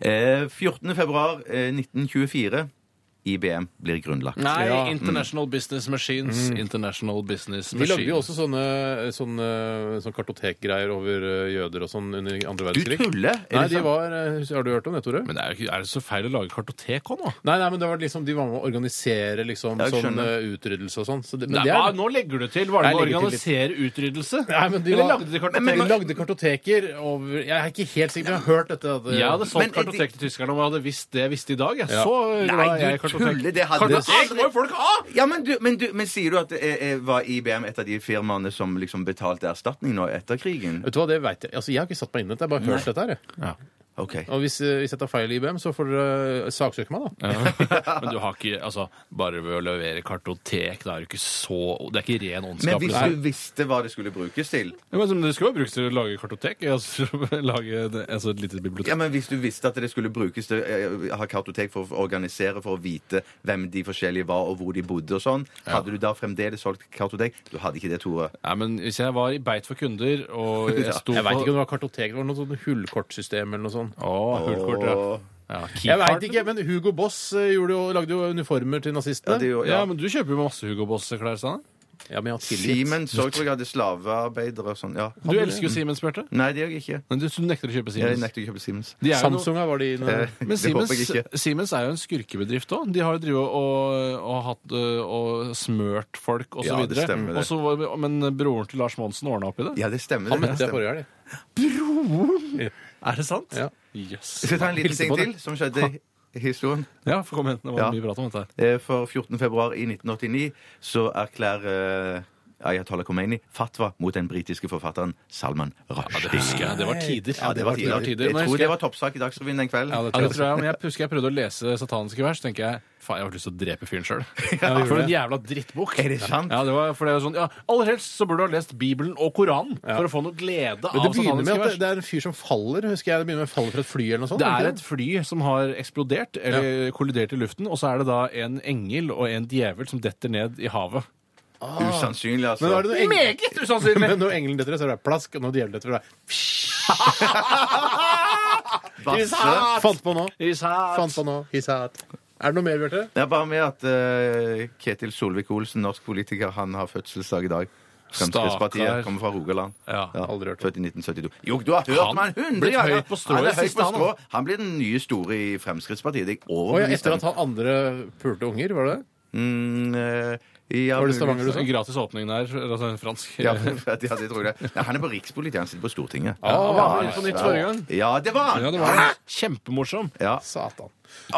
Eh, 14. februar eh, 1924 IBM blir grunnlagt.
Nei,
Ja. mm.
International Business Machines. International Business
Vi lagde jo
Machines.
også sånne, sånne, sånn kartotekgreier over eh, jøder og sånn under andre
Du
verdenskrig.
tuller! Er
Nei,
det
de
sant?
var, eh, Har du hørt om det, Tore?
Men det er, jo ikke, er det så feil å lage kartotek òg, nå?
Nei, nei, men det var liksom, de var med å organisere liksom,
Jeg
sånn
skjønner.
eh, utryddelse og sånn. Så det, men
Nei,
det
hva,
er,
nå legger du til. Var det
Jeg
med å
legger til litt.
organisere utryddelse?
Nei, men de
Eller
var-
lagde de
men,
kartotek?
de lagde kartoteker over Jeg er ikke helt sikker, men jeg har hørt dette. At, eh,
Jeg hadde
Men er
solgt
de-
kartotek til tyskerne om jeg hadde visst det jeg visste i dag. Jeg.
Ja.
Så
Nei,
glad er jeg i
du tuller! Det hadde
Kartotek må jo folk ha!
Ja, men, du, men, du, men sier du at eh, eh, var IBM et av de firmaene som liksom betalte erstatning nå etter krigen?
Vet du hva, det vet jeg. Altså, jeg har ikke satt meg inn i dette, jeg har bare hørt dette her. jeg.
Ok.
Og hvis, eh, hvis jeg tar feil i IBM, så får dere eh, saksøke meg, da.
Men du har ikke altså, Bare ved å levere kartotek, da er du ikke så Det er ikke ren
Men hvis
åndsskapelse.
du visste hva det skulle brukes til
Ja, men Det skal jo brukes til å lage kartotek. Altså, lage det- altså et lite bibliotek.
ja, men Hvis du visste at det skulle brukes til eh, ha kartotek for å organisere, for å vite hvem de forskjellige var, og hvor de bodde og sånn, hadde du da fremdeles solgt kartotek? Du hadde ikke det, Tore.
Nei, men Hvis jeg var i beit for kunder, og jeg sto
Jeg veit ikke
på
om det var kartotek, det var noe sånn hullkortsystem eller noe sånt.
Å, hullkort, ja.
Åh.
ja
Jeg
keycard,
veit ikke, men Hugo Boss eh, gjorde jo, lagde jo uniformer til
Ja, det
nazistene.
gjorde-
Ja, men du kjøper jo masse Hugo Boss-klær, Steinar.
Ja, men jeg har tilgitt.
Siemens òg tror jeg hadde slavearbeidere og sånn. Ja.
Du elsker jo Siemens, Bjarte.
Nei, det gjør jeg ikke.
Men du du nekter å kjøpe
Jeg
Siemens.
nekter å kjøpe Siemens.
De er jo noe-
Samsung ja, var de inne.
Eh,
Men
det håper
Siemens,
jeg ikke.
Siemens er jo en skurkebedrift òg. De har jo drevet og, og, hatt, øh, og smørt folk osv.
Ja, det stemmer det.
men broren til Lars Monsen ordna opp i det.
Ja, det stemmer.
Han
det
møtte jeg
stemmer.
forrige helg.
Er det sant?
Ja.
Jøss.
Jeg skal ta en liten
Hilse
ting
på det.
til som skjedde i historien.
Ja, for kom igjen. Det var
Ja.
mye prat om dette her.
Eh, For 14. februar i 1989 så erklærer eh, Ayatollah Khomeini fatwa mot den britiske forfatteren Salman Rushdie.
Husker jeg, det var tider.
Ja, det var tider.
tider.
Jeg
Men
tror
husker
det
jeg-
var toppsak i Dagsrevyen den kvelden.
Ja, det
Ja, det tror jeg, men jeg husker jeg prøvde å lese sataniske vers, tenker jeg faen, jeg har lyst til å drepe fyren sjøl. for en jævla drittbok.
Er det sant?
Ja, det var, for det var sånn, ja, Aller helst så burde du ha lest Bibelen og Koranen for å få noe glede
Men det
av sånn
begynner med at det,
sataniske vers.
det er en fyr som faller, husker jeg. Det begynner med å falle fra et fly eller noe sånt.
Det
ikke
er et fly som har eksplodert, eller kollidert i luften, og så er det da en engel og en djevel som detter ned i havet.
Usannsynlig, altså.
Men da er det noe engel...
Meget usannsynlig!
Men når engelen detter, så er det plask, og når djevelen detter, så er det
Basse.
Fant på nå!
Fant
Fant på nå. His hat. Er det noe mer, Bjarte?
Det er bare med at eh, Ketil Solvik-Olsen, norsk politiker, han har fødselsdag i dag.
Stakkar.
Fremskrittspartiet kommer fra Rogaland.
Ja,
aldri hørt.
Født i 1972. Jo, du har hørt
Han
meg hundre
blitt
ganger!
høyt på strå
Han
i
er høyt på
siste, han, altså.
strå. Han blir den nye store i Fremskrittspartiet. Det er jeg
Å ja,
overbevist
etter
om.
at han andre pulte unger, var det det?
Mm, eh, ja,
Var det
muligens.
Stavanger du sa?
sånn Gratis åpning der, altså fransk.
Ja, for at- ja, det tror jeg. Nei, han er på rikspolitiet, han sitter på Stortinget.
Ja,
Å,
han var med på nytt forrige gang.
Ja, det var han!
Ja, det var kjempemorsom.
Ja.
Satan.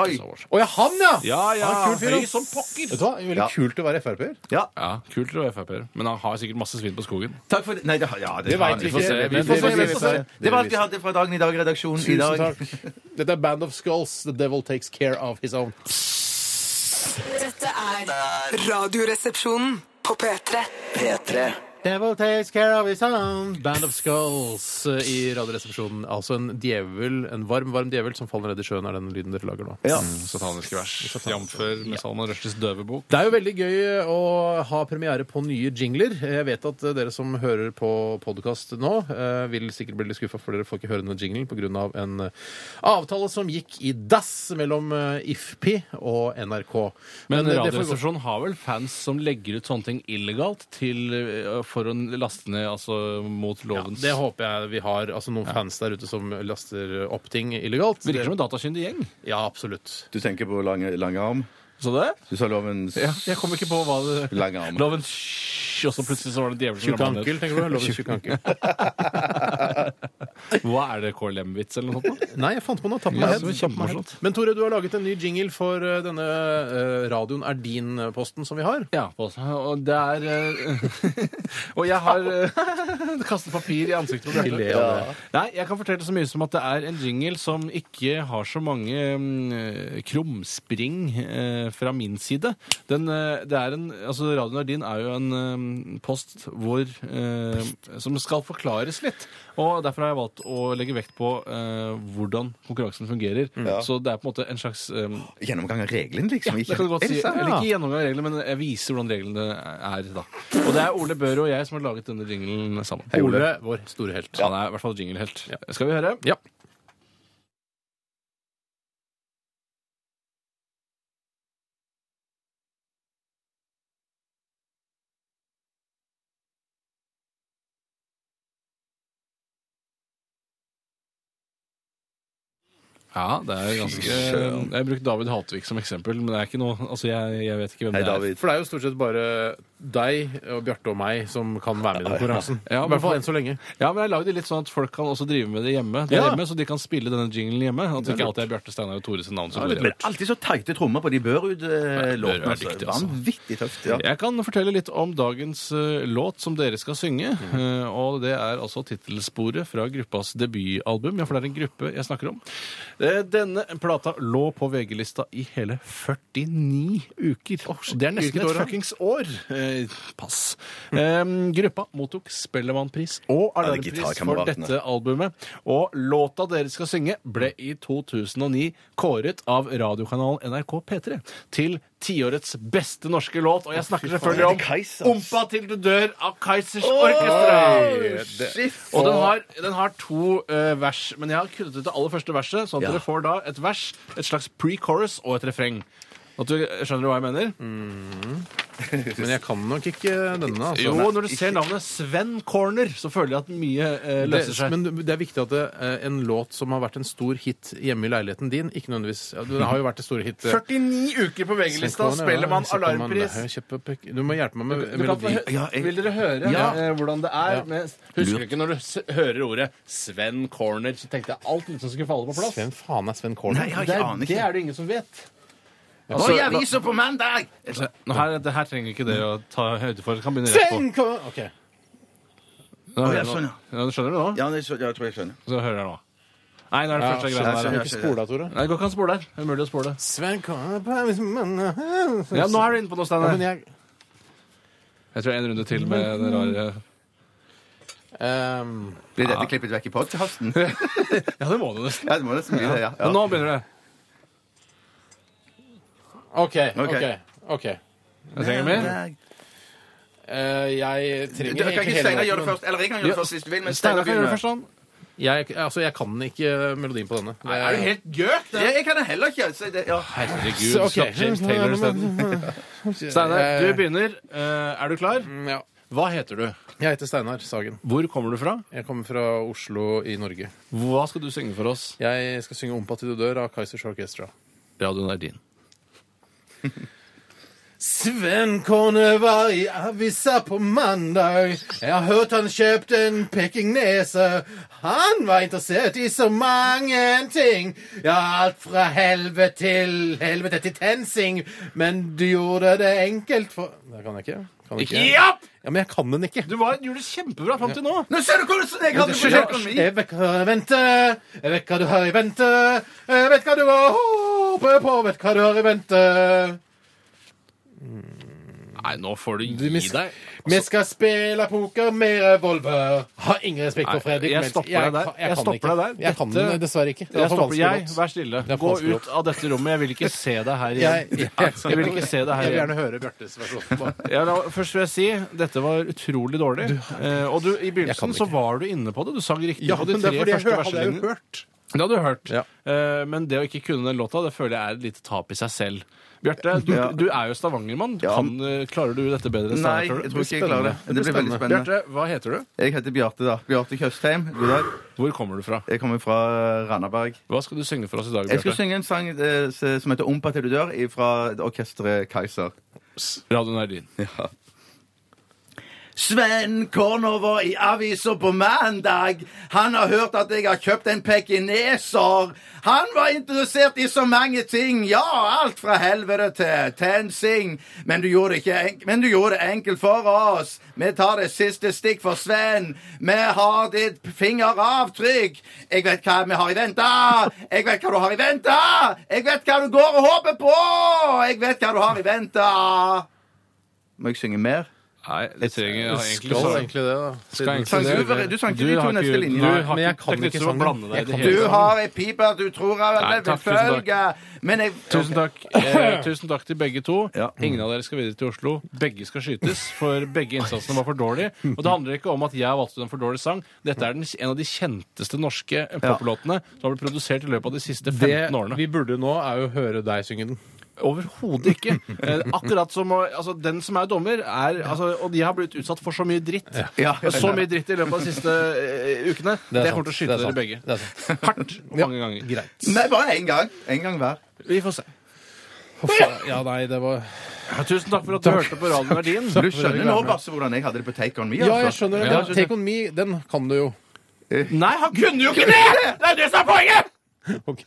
Oi.
Å ja, han, ja!
Ja, ja,
Han er kul fyr,
høy
ass.
som pokker.
Vet du hva? Veldig
Ja.
kult å være Frp-er.
Ja.
Ja, Kult å være Frp-er, men han har sikkert masse svin på skogen.
Takk for det. Nei, det, ja, det,
Det
tar
vet
han.
vi
får
ikke.
se.
Vi får se, vi
vi
får
får
se.
se. Det var alt vi hadde fra Dagen i dag, redaksjonen i
Tusen
dag.
takk. Dette er Band of Skulls. The Devil Takes Care of His Own.
Dette er Radioresepsjonen på P3.
P3
Devil takes care of his own. Band of Skulls eh, i Radioresepsjonen. Altså en djevel, en varm, varm djevel som faller ned i sjøen, er den lyden dere lager nå.
Ja.
Mm. Sataniske vers. Jamfør med Salman Rushdies døve bok.
Det er jo veldig gøy eh, å ha premiere på nye jingler. Jeg vet at eh, dere som hører på podkast nå, eh, vil sikkert bli litt skuffa, for dere får ikke høre denne jinglen pga. en eh, avtale som gikk i dass mellom eh, IFPI og NRK.
Men
eh, det får gå-
Radioresepsjonen har vel fans som legger ut sånne ting illegalt til, eh, for å laste ned altså, mot lovens
det håper jeg vi har altså noen fans der ute som laster opp ting illegalt.
Virker som en datakyndig gjeng.
Ja, absolutt.
Du tenker på lange, lange arm?
Så det?
Du sa lovens
Jeg kom ikke på hva det
lange arm.
Lovens bitch, og så plutselig så var det djevelen som
Tjukk
rammet
ankel,
ned.
tenker du? Lovens tjukke ankel.
Hva er det, Kåre Lem-vits eller noe sånt? da?
Nei, jeg fant på noe. Tapp
Ja,
meg
det var
head.
kjempemorsomt.
Men Tore, du har laget en ny jingle for eh, denne eh, radioen er din-posten som vi har.
Ja, på oss. Og det er eh, Og jeg har eh, kastet papir i ansiktet på Bjarte.
ler av det.
Nei, jeg kan fortelle så mye som at det er en jingle som ikke har så mange mm, krumspring eh, fra min side. Den, eh, det er en, altså Radioen Ardin er jo en eh, post hvor eh, Som skal forklares litt. Og derfor har jeg valgt å legge vekt på eh, hvordan konkurransen fungerer.
Mm.
Så det er på en måte en slags eh,
Gjennomgang av reglene, liksom.
det kan du godt
Er det
si.
sant?
Eller ikke gjennomgang av reglene, men jeg viser hvordan reglene er da. Og det er Ole Børre og jeg som har laget denne jinglen sammen.
Ole, vår store helt.
Ja, han er i hvert fall jinglehelt. Skal vi høre?
Ja.
Ja, det er ganske Jeg har brukt David Hatvik som eksempel, men det er ikke noe Altså, jeg, jeg vet ikke hvem
Hei,
det er.
David.
For det er jo stort sett bare deg og Bjarte og meg som kan være med i den konkurransen.
Ja,
I hvert fall enn så lenge.
Ja, men jeg har lagd det litt sånn at folk kan også drive med det hjemme, der
Ja.
hjemme så de kan spille denne jinglen hjemme. At det ikke alltid er Bjarte Steinar og Tore sitt navn som går igjen.
Men Alltid så tighte trommer på de
Børud er
Børud-låtene.
dyktig,
Altså.
altså.
Vanvittig tøft. Ja.
Jeg kan fortelle litt om dagens eh, låt som dere skal synge.
Mhm.
eh, og det er altså tittelsporet fra gruppas debutalbum. Ja, for det er en gruppe jeg snakker om. Eh, denne plata lå på VG-lista i hele 49 uker. det er
hvilket
nesten
år
et
da?
fuckings år. Eh, pass. Eh, gruppa mottok Spellemannpris og
Ja, det er
Alarmpris for
gitarkameratene.
dette albumet. Og låta dere skal synge, ble i 2009 kåret av radiokanalen NRK P3 til tiårets beste norske låt. Og jeg snakker selvfølgelig
Det er Kaisers.
om Ompa til du dør av Kaizers Orkestra.
Shit.
Og den har, den har to eh, vers, men jeg har kuttet ut det aller første verset, sånn at
Ja.
dere får da et vers, et slags pre-chorus og et refreng. At du, skjønner du hva jeg mener?
Mm.
Men jeg kan nok ikke denne. Altså.
jo, når du ser navnet Sven Corner, så føler jeg at mye eh,
Det,
løser seg.
men det er viktig at det, eh, en låt som har vært en stor hit hjemme i leiligheten din Ikke nødvendigvis ja, Den har jo vært en stor hit. eh,
49 uker på VG-lista
Senkone, ja,
spiller man
setter man-
alarmpris.
Nei, kjøpe pek- Du må hjelpe meg med
Du kan få
melodi.
hø- Vil dere høre
Ja.
eh, hvordan det er?
Ja.
Med, husker du ikke når du s hører ordet Sven Corner, så tenkte jeg alt liksom skulle falle på plass?
Hvem faen er Sven Kålen?
Nei, jeg
det,
aner
er,
ikke.
det er det ingen som vet.
Oi, aviser på mandag!
Nå, her, det her trenger ikke dere å ta høyde for. Det kan begynne rett på.
Ok.
Å,
Nå,
ja,
hører jeg nå.
sånn, ja.
Ja, du skjønner du nå?
Ja, det, så, ja, jeg tror jeg skjønner.
Så hører jeg nå. Nei, nå er det
Ja,
første
så-
greia
så-
der.
ja.
ja.
Ikke spol deg, Tore.
Nei, det går ikke an å spole her. Det er umulig å spole.
Sven Kålen
Ja, nå er du inne på
Ja,
noe, Steinar.
men jeg
Jeg tror en runde til med den rare
ehm,
Blir dette klippet vekk i podkasten? ja,
Ja, det må du nesten.
det må nesten bli det. Ja,
Men
ja.
nå begynner det.
OK. OK.
Ok.
ok.
Jeg trenger mer.
Eh, jeg trenger
Du, kan
ikke
ikke
hele
Steinar gjøre
låten,
det først? Eller jeg kan gjøre det først hvis du vil. Men
Steinar kan gjøre det
begynner.
først, sånn? han.
men Jeg, altså, jeg kan ikke melodien på denne. Nei,
Er du helt gøk?
Ja, jeg kan det heller ikke. Så det, ja.
Herregud, slapp
mm,
James Taylor isteden. Steinar, du begynner. Eh, er du klar?
mm, Ja.
Hva heter du?
Jeg heter Steinar Sagen.
Hvor kommer du fra?
Jeg kommer fra Oslo i Norge.
Hva skal du synge for oss?
Jeg skal synge 'Ompa til du dør' av Kaizers Orchestra.
Radioen er din.
Sven Kone var i avisa på mandag. Jeg har hørt han kjøpte en pekingnese. Han var interessert i så mange ting. Ja, alt fra helvete til helvete til tensing. Men du gjorde det enkelt for Det kan jeg ikke. Kan jeg ikke.
Japp!
Ja, Men jeg kan den ikke.
Du var, du gjorde det kjempebra fram til nå.
Nå ser du hvordan jeg hadde på økonomi!
Jeg vet hva jeg venter, jeg vet hva du har i vente. Jeg vet hva du håper på, vet hva du har i vente. Mm.
Nei, nå får du gi
Du mis-
deg. Altså-
Vi skal spille poker med revolver. Har ingen respekt for
Nei,
Fredrik.
jeg
Mensch.
stopper
Jeg
deg der.
kan-
Jeg
kan
stopper
ikke.
deg der.
Jeg kan
Dette-
den dessverre ikke. Det er
Jeg
for
stopper.
vanskelig
Jeg,
låt.
vær stille.
Det er for
Gå
vanskelig
ut av dette rommet. Jeg vil ikke se deg her
Jeg,
igjen. Jeg vil ikke se deg her
Jeg vil
igjen.
gjerne høre Bjartes versjon.
Ja, da, først vil jeg si dette var utrolig dårlig. Eh, og du, i
kan
begynnelsen
det
så
ikke.
var du inne på det. Du sang riktig
Ja,
på de
men det er
tre
fordi jeg
første
hør- hadde jeg jo
verselinjene.
hørt.
Det hadde du hørt.
Ja.
Eh, men det å ikke kunne den låta, det føler jeg er et lite tap i seg selv. Bjarte, du,
Ja.
du er jo stavangermann.
Ja.
Kan, eh, klarer du dette bedre enn
Nei,
Steinar,
jeg
tror du?
tror ikke jeg klarer det. Det blir veldig spennende.
Bjarte, hva heter du?
Jeg heter Bjarte, da. Bjarte Tjøstheim. God dag.
Hvor kommer du fra?
Jeg kommer fra Randaberg.
Hva skal du synge for oss i dag,
Jeg skulle
Bjarte?
synge en sang eh, som heter 'Ompa til du dør' fra orkesteret Kaiser.
Radioen er din.
Ja. Sven Kornover i avisa på mandag. Han har hørt at jeg har kjøpt en pekineser. Han var interessert i så mange ting. Ja, alt fra helvete til TenSing. Men du gjorde, ikke enk Men du gjorde det enkelt for oss. Vi tar det siste stikk for Sven. Vi har ditt fingeravtrykk. Jeg vet hva vi har i vente. Jeg vet hva du har i vente. Jeg vet hva du går og håper på. Jeg vet hva du har i vente. Må jeg synge mer?
Nei, det trenger jeg egentlig
Skal
ikke.
egentlig det, da. Siden-
egentlig
det. Du var- du sang ikke de to
har
neste linjene.
du har
Men jeg kan
det er
ikke
vits i å
sangen.
blande deg i
Jeg
det
kan
hele
Du
tatt.
har ei pipe du tror er
Nei,
vil
takk, tusen
følge. Men jeg
Tusen takk. Eh, tusen takk til begge to.
Ja.
Ingen av dere skal videre til Oslo. Begge skal skytes, for begge innsatsene var for dårlige. Og det handler ikke om at jeg valgte en for dårlig sang. Dette er den, en av de kjenteste norske poplåtene som har blitt produsert i løpet av de siste 15
Det
årene.
vi burde nå, er jo å høre deg synge den.
Overhodet ikke. Eh, akkurat som å- altså, Den som er dommer, er altså, Og de har blitt utsatt for så mye dritt.
Ja.
Så mye dritt i løpet av de siste eh, ukene. Det,
er sant.
kommer til å
Det er
skyte dere
sant.
begge.
Det er sant.
Hardt og mange ganger.
Greit.
Nei, bare én gang. En gang hver.
Vi får se.
Ja, nei, det var
Ja, tusen takk for at du hørte på Radio Verdien.
Du skjønner nå Basse, hvordan jeg hadde det på Take On Me?
Ja, jeg
altså.
skjønner det.
Ja,
Den Take On Me, den kan du jo.
Nei, han kunne jo ikke det! Det er det som er poenget!
OK.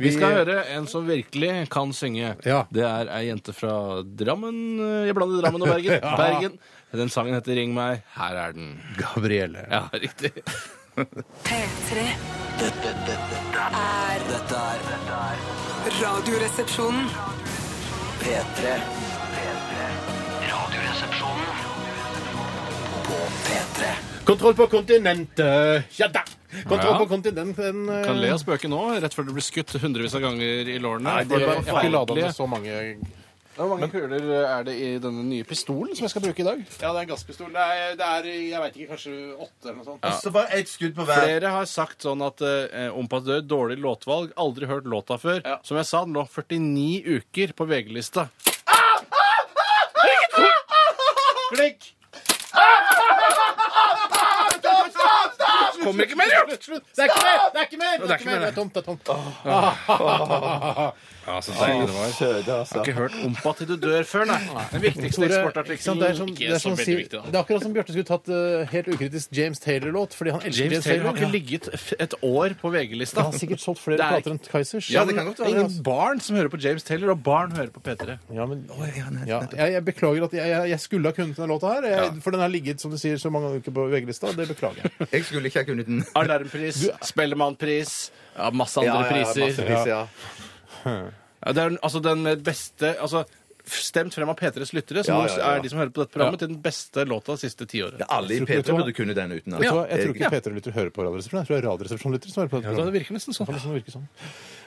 Vi skal høre en som virkelig kan synge.
Ja.
Det er ei jente fra Drammen. eh, Jeg blander Drammen og Bergen. Bergen. Den sangen heter 'Ring meg'. Her er den.
Gabrielle.
Ja, riktig.
P3
Dette, dette, dette er-
er
dette er dette er
Radioresepsjonen.
P3. P3. Radioresepsjonen på P3.
Kontroll på kontinentet! Ja da! Kontroll
Ja.
på kontinentet, den eh,
Kan le av spøket nå, rett før du blir skutt hundrevis av ganger i lårene.
Nei, det
For
var jeg har ikke lada
forferdelige-
med så mange
Hvor mange kuler er det i denne nye pistolen som jeg skal bruke i dag?
Ja, det er en gasspistol. Det er, jeg veit ikke, kanskje åtte eller noe sånt.
Så bare ett skudd på hver.
Flere har sagt sånn at eh, Ompas dør, dårlig låtvalg, aldri hørt låta før. Som jeg sa, den lå 49 uker på VG-lista. Klikk! Kommer ikke mer, jo!
Slutt! Det er ikke mer! Det er ikke mer! Det er, ikke mer. Det er tomt. Det er tomt.
Ja, så deilig det var. Jeg har ikke hørt Ompa til du dør før, nei. Den
Tore,
viktigste
ikke sant,
eksportartikkelen.
det, er sånn som, det, er
Ikke så
som
veldig
Siv,
viktig, da.
det er akkurat som Bjarte skulle tatt eh, helt ukritisk James Taylor-låt, fordi han elsker
James Taylor har ikke ligget f- et år
Ja.
på VG-lista.
Han har sikkert solgt flere
Det er-
plater enn Kaizers.
Ja, det kan godt være,
Ingen
altså.
barn som hører på James Taylor, og barn hører på P3.
Ja, men, ja, jeg, jeg beklager at jeg, jeg, jeg skulle ha kunnet denne låta her, jeg, for den har ligget som du sier, så mange uker på VG-lista. Det beklager jeg.
Jeg skulle ikke ha kunnet den.
Alarmpris, Spellemannpris, ja, masse andre priser.
masse priser, ja.
Ja, det er den- altså den med beste altså, f- Stemt frem av P3s lyttere, som
Ja, ja, ja.
er de som hører på dette programmet, til den beste låta det siste tiåret.
Ja, Alle i
Tror ikke
P3
det var-
burde kunne den uten.
Vet du
altså.
hva? Jeg tror ikke
Ja.
P3-lyttere hører på Radioresepsjonen. Jeg tror det er Radioresepsjonen-lyttere som hører på dette
Ja, det
programmet.
virker nesten sånn.
Det kan virke sånn.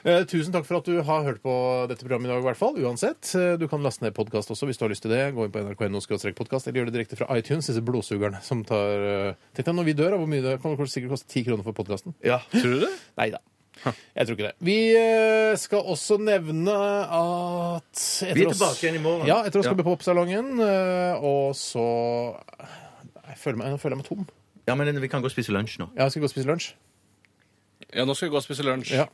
Eh, tusen takk for at du har hørt på dette programmet i dag, i hvert fall. Uansett. Eh, Du kan laste ned podkast også hvis du har lyst til det. Gå inn på nrk.no-podkast, eller gjør det direkte fra iTunes, disse blodsugerne som tar eh, Tenk deg når vi dør, da, hvor mye det kommer til å sikkert koste ti kroner for podkasten.
Ja.
Tror du det?
Nei da. Jeg tror ikke det. Vi eh, skal også nevne at
Vi er tilbake igjen i morgen.
Ja, etter oss
Ja.
skal vi på Popsalongen, eh, og så jeg føler meg, Nå føler jeg meg tom.
ja, men vi kan gå og spise lunsj nå.
Ja, jeg skal gå og spise lunsj.
Ja, nå skal vi gå og spise lunsj.
Ja.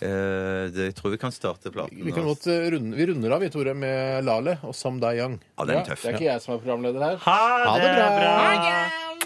Eh, det, jeg tror vi kan starte platen.
Vi, kan godt,
altså.
eh, runde, vi runder av, vi, Tore, med Lale og Sam Dai Yang.
Ja, den er tøff.
Det er ikke jeg som er programleder her.
Ha det bra!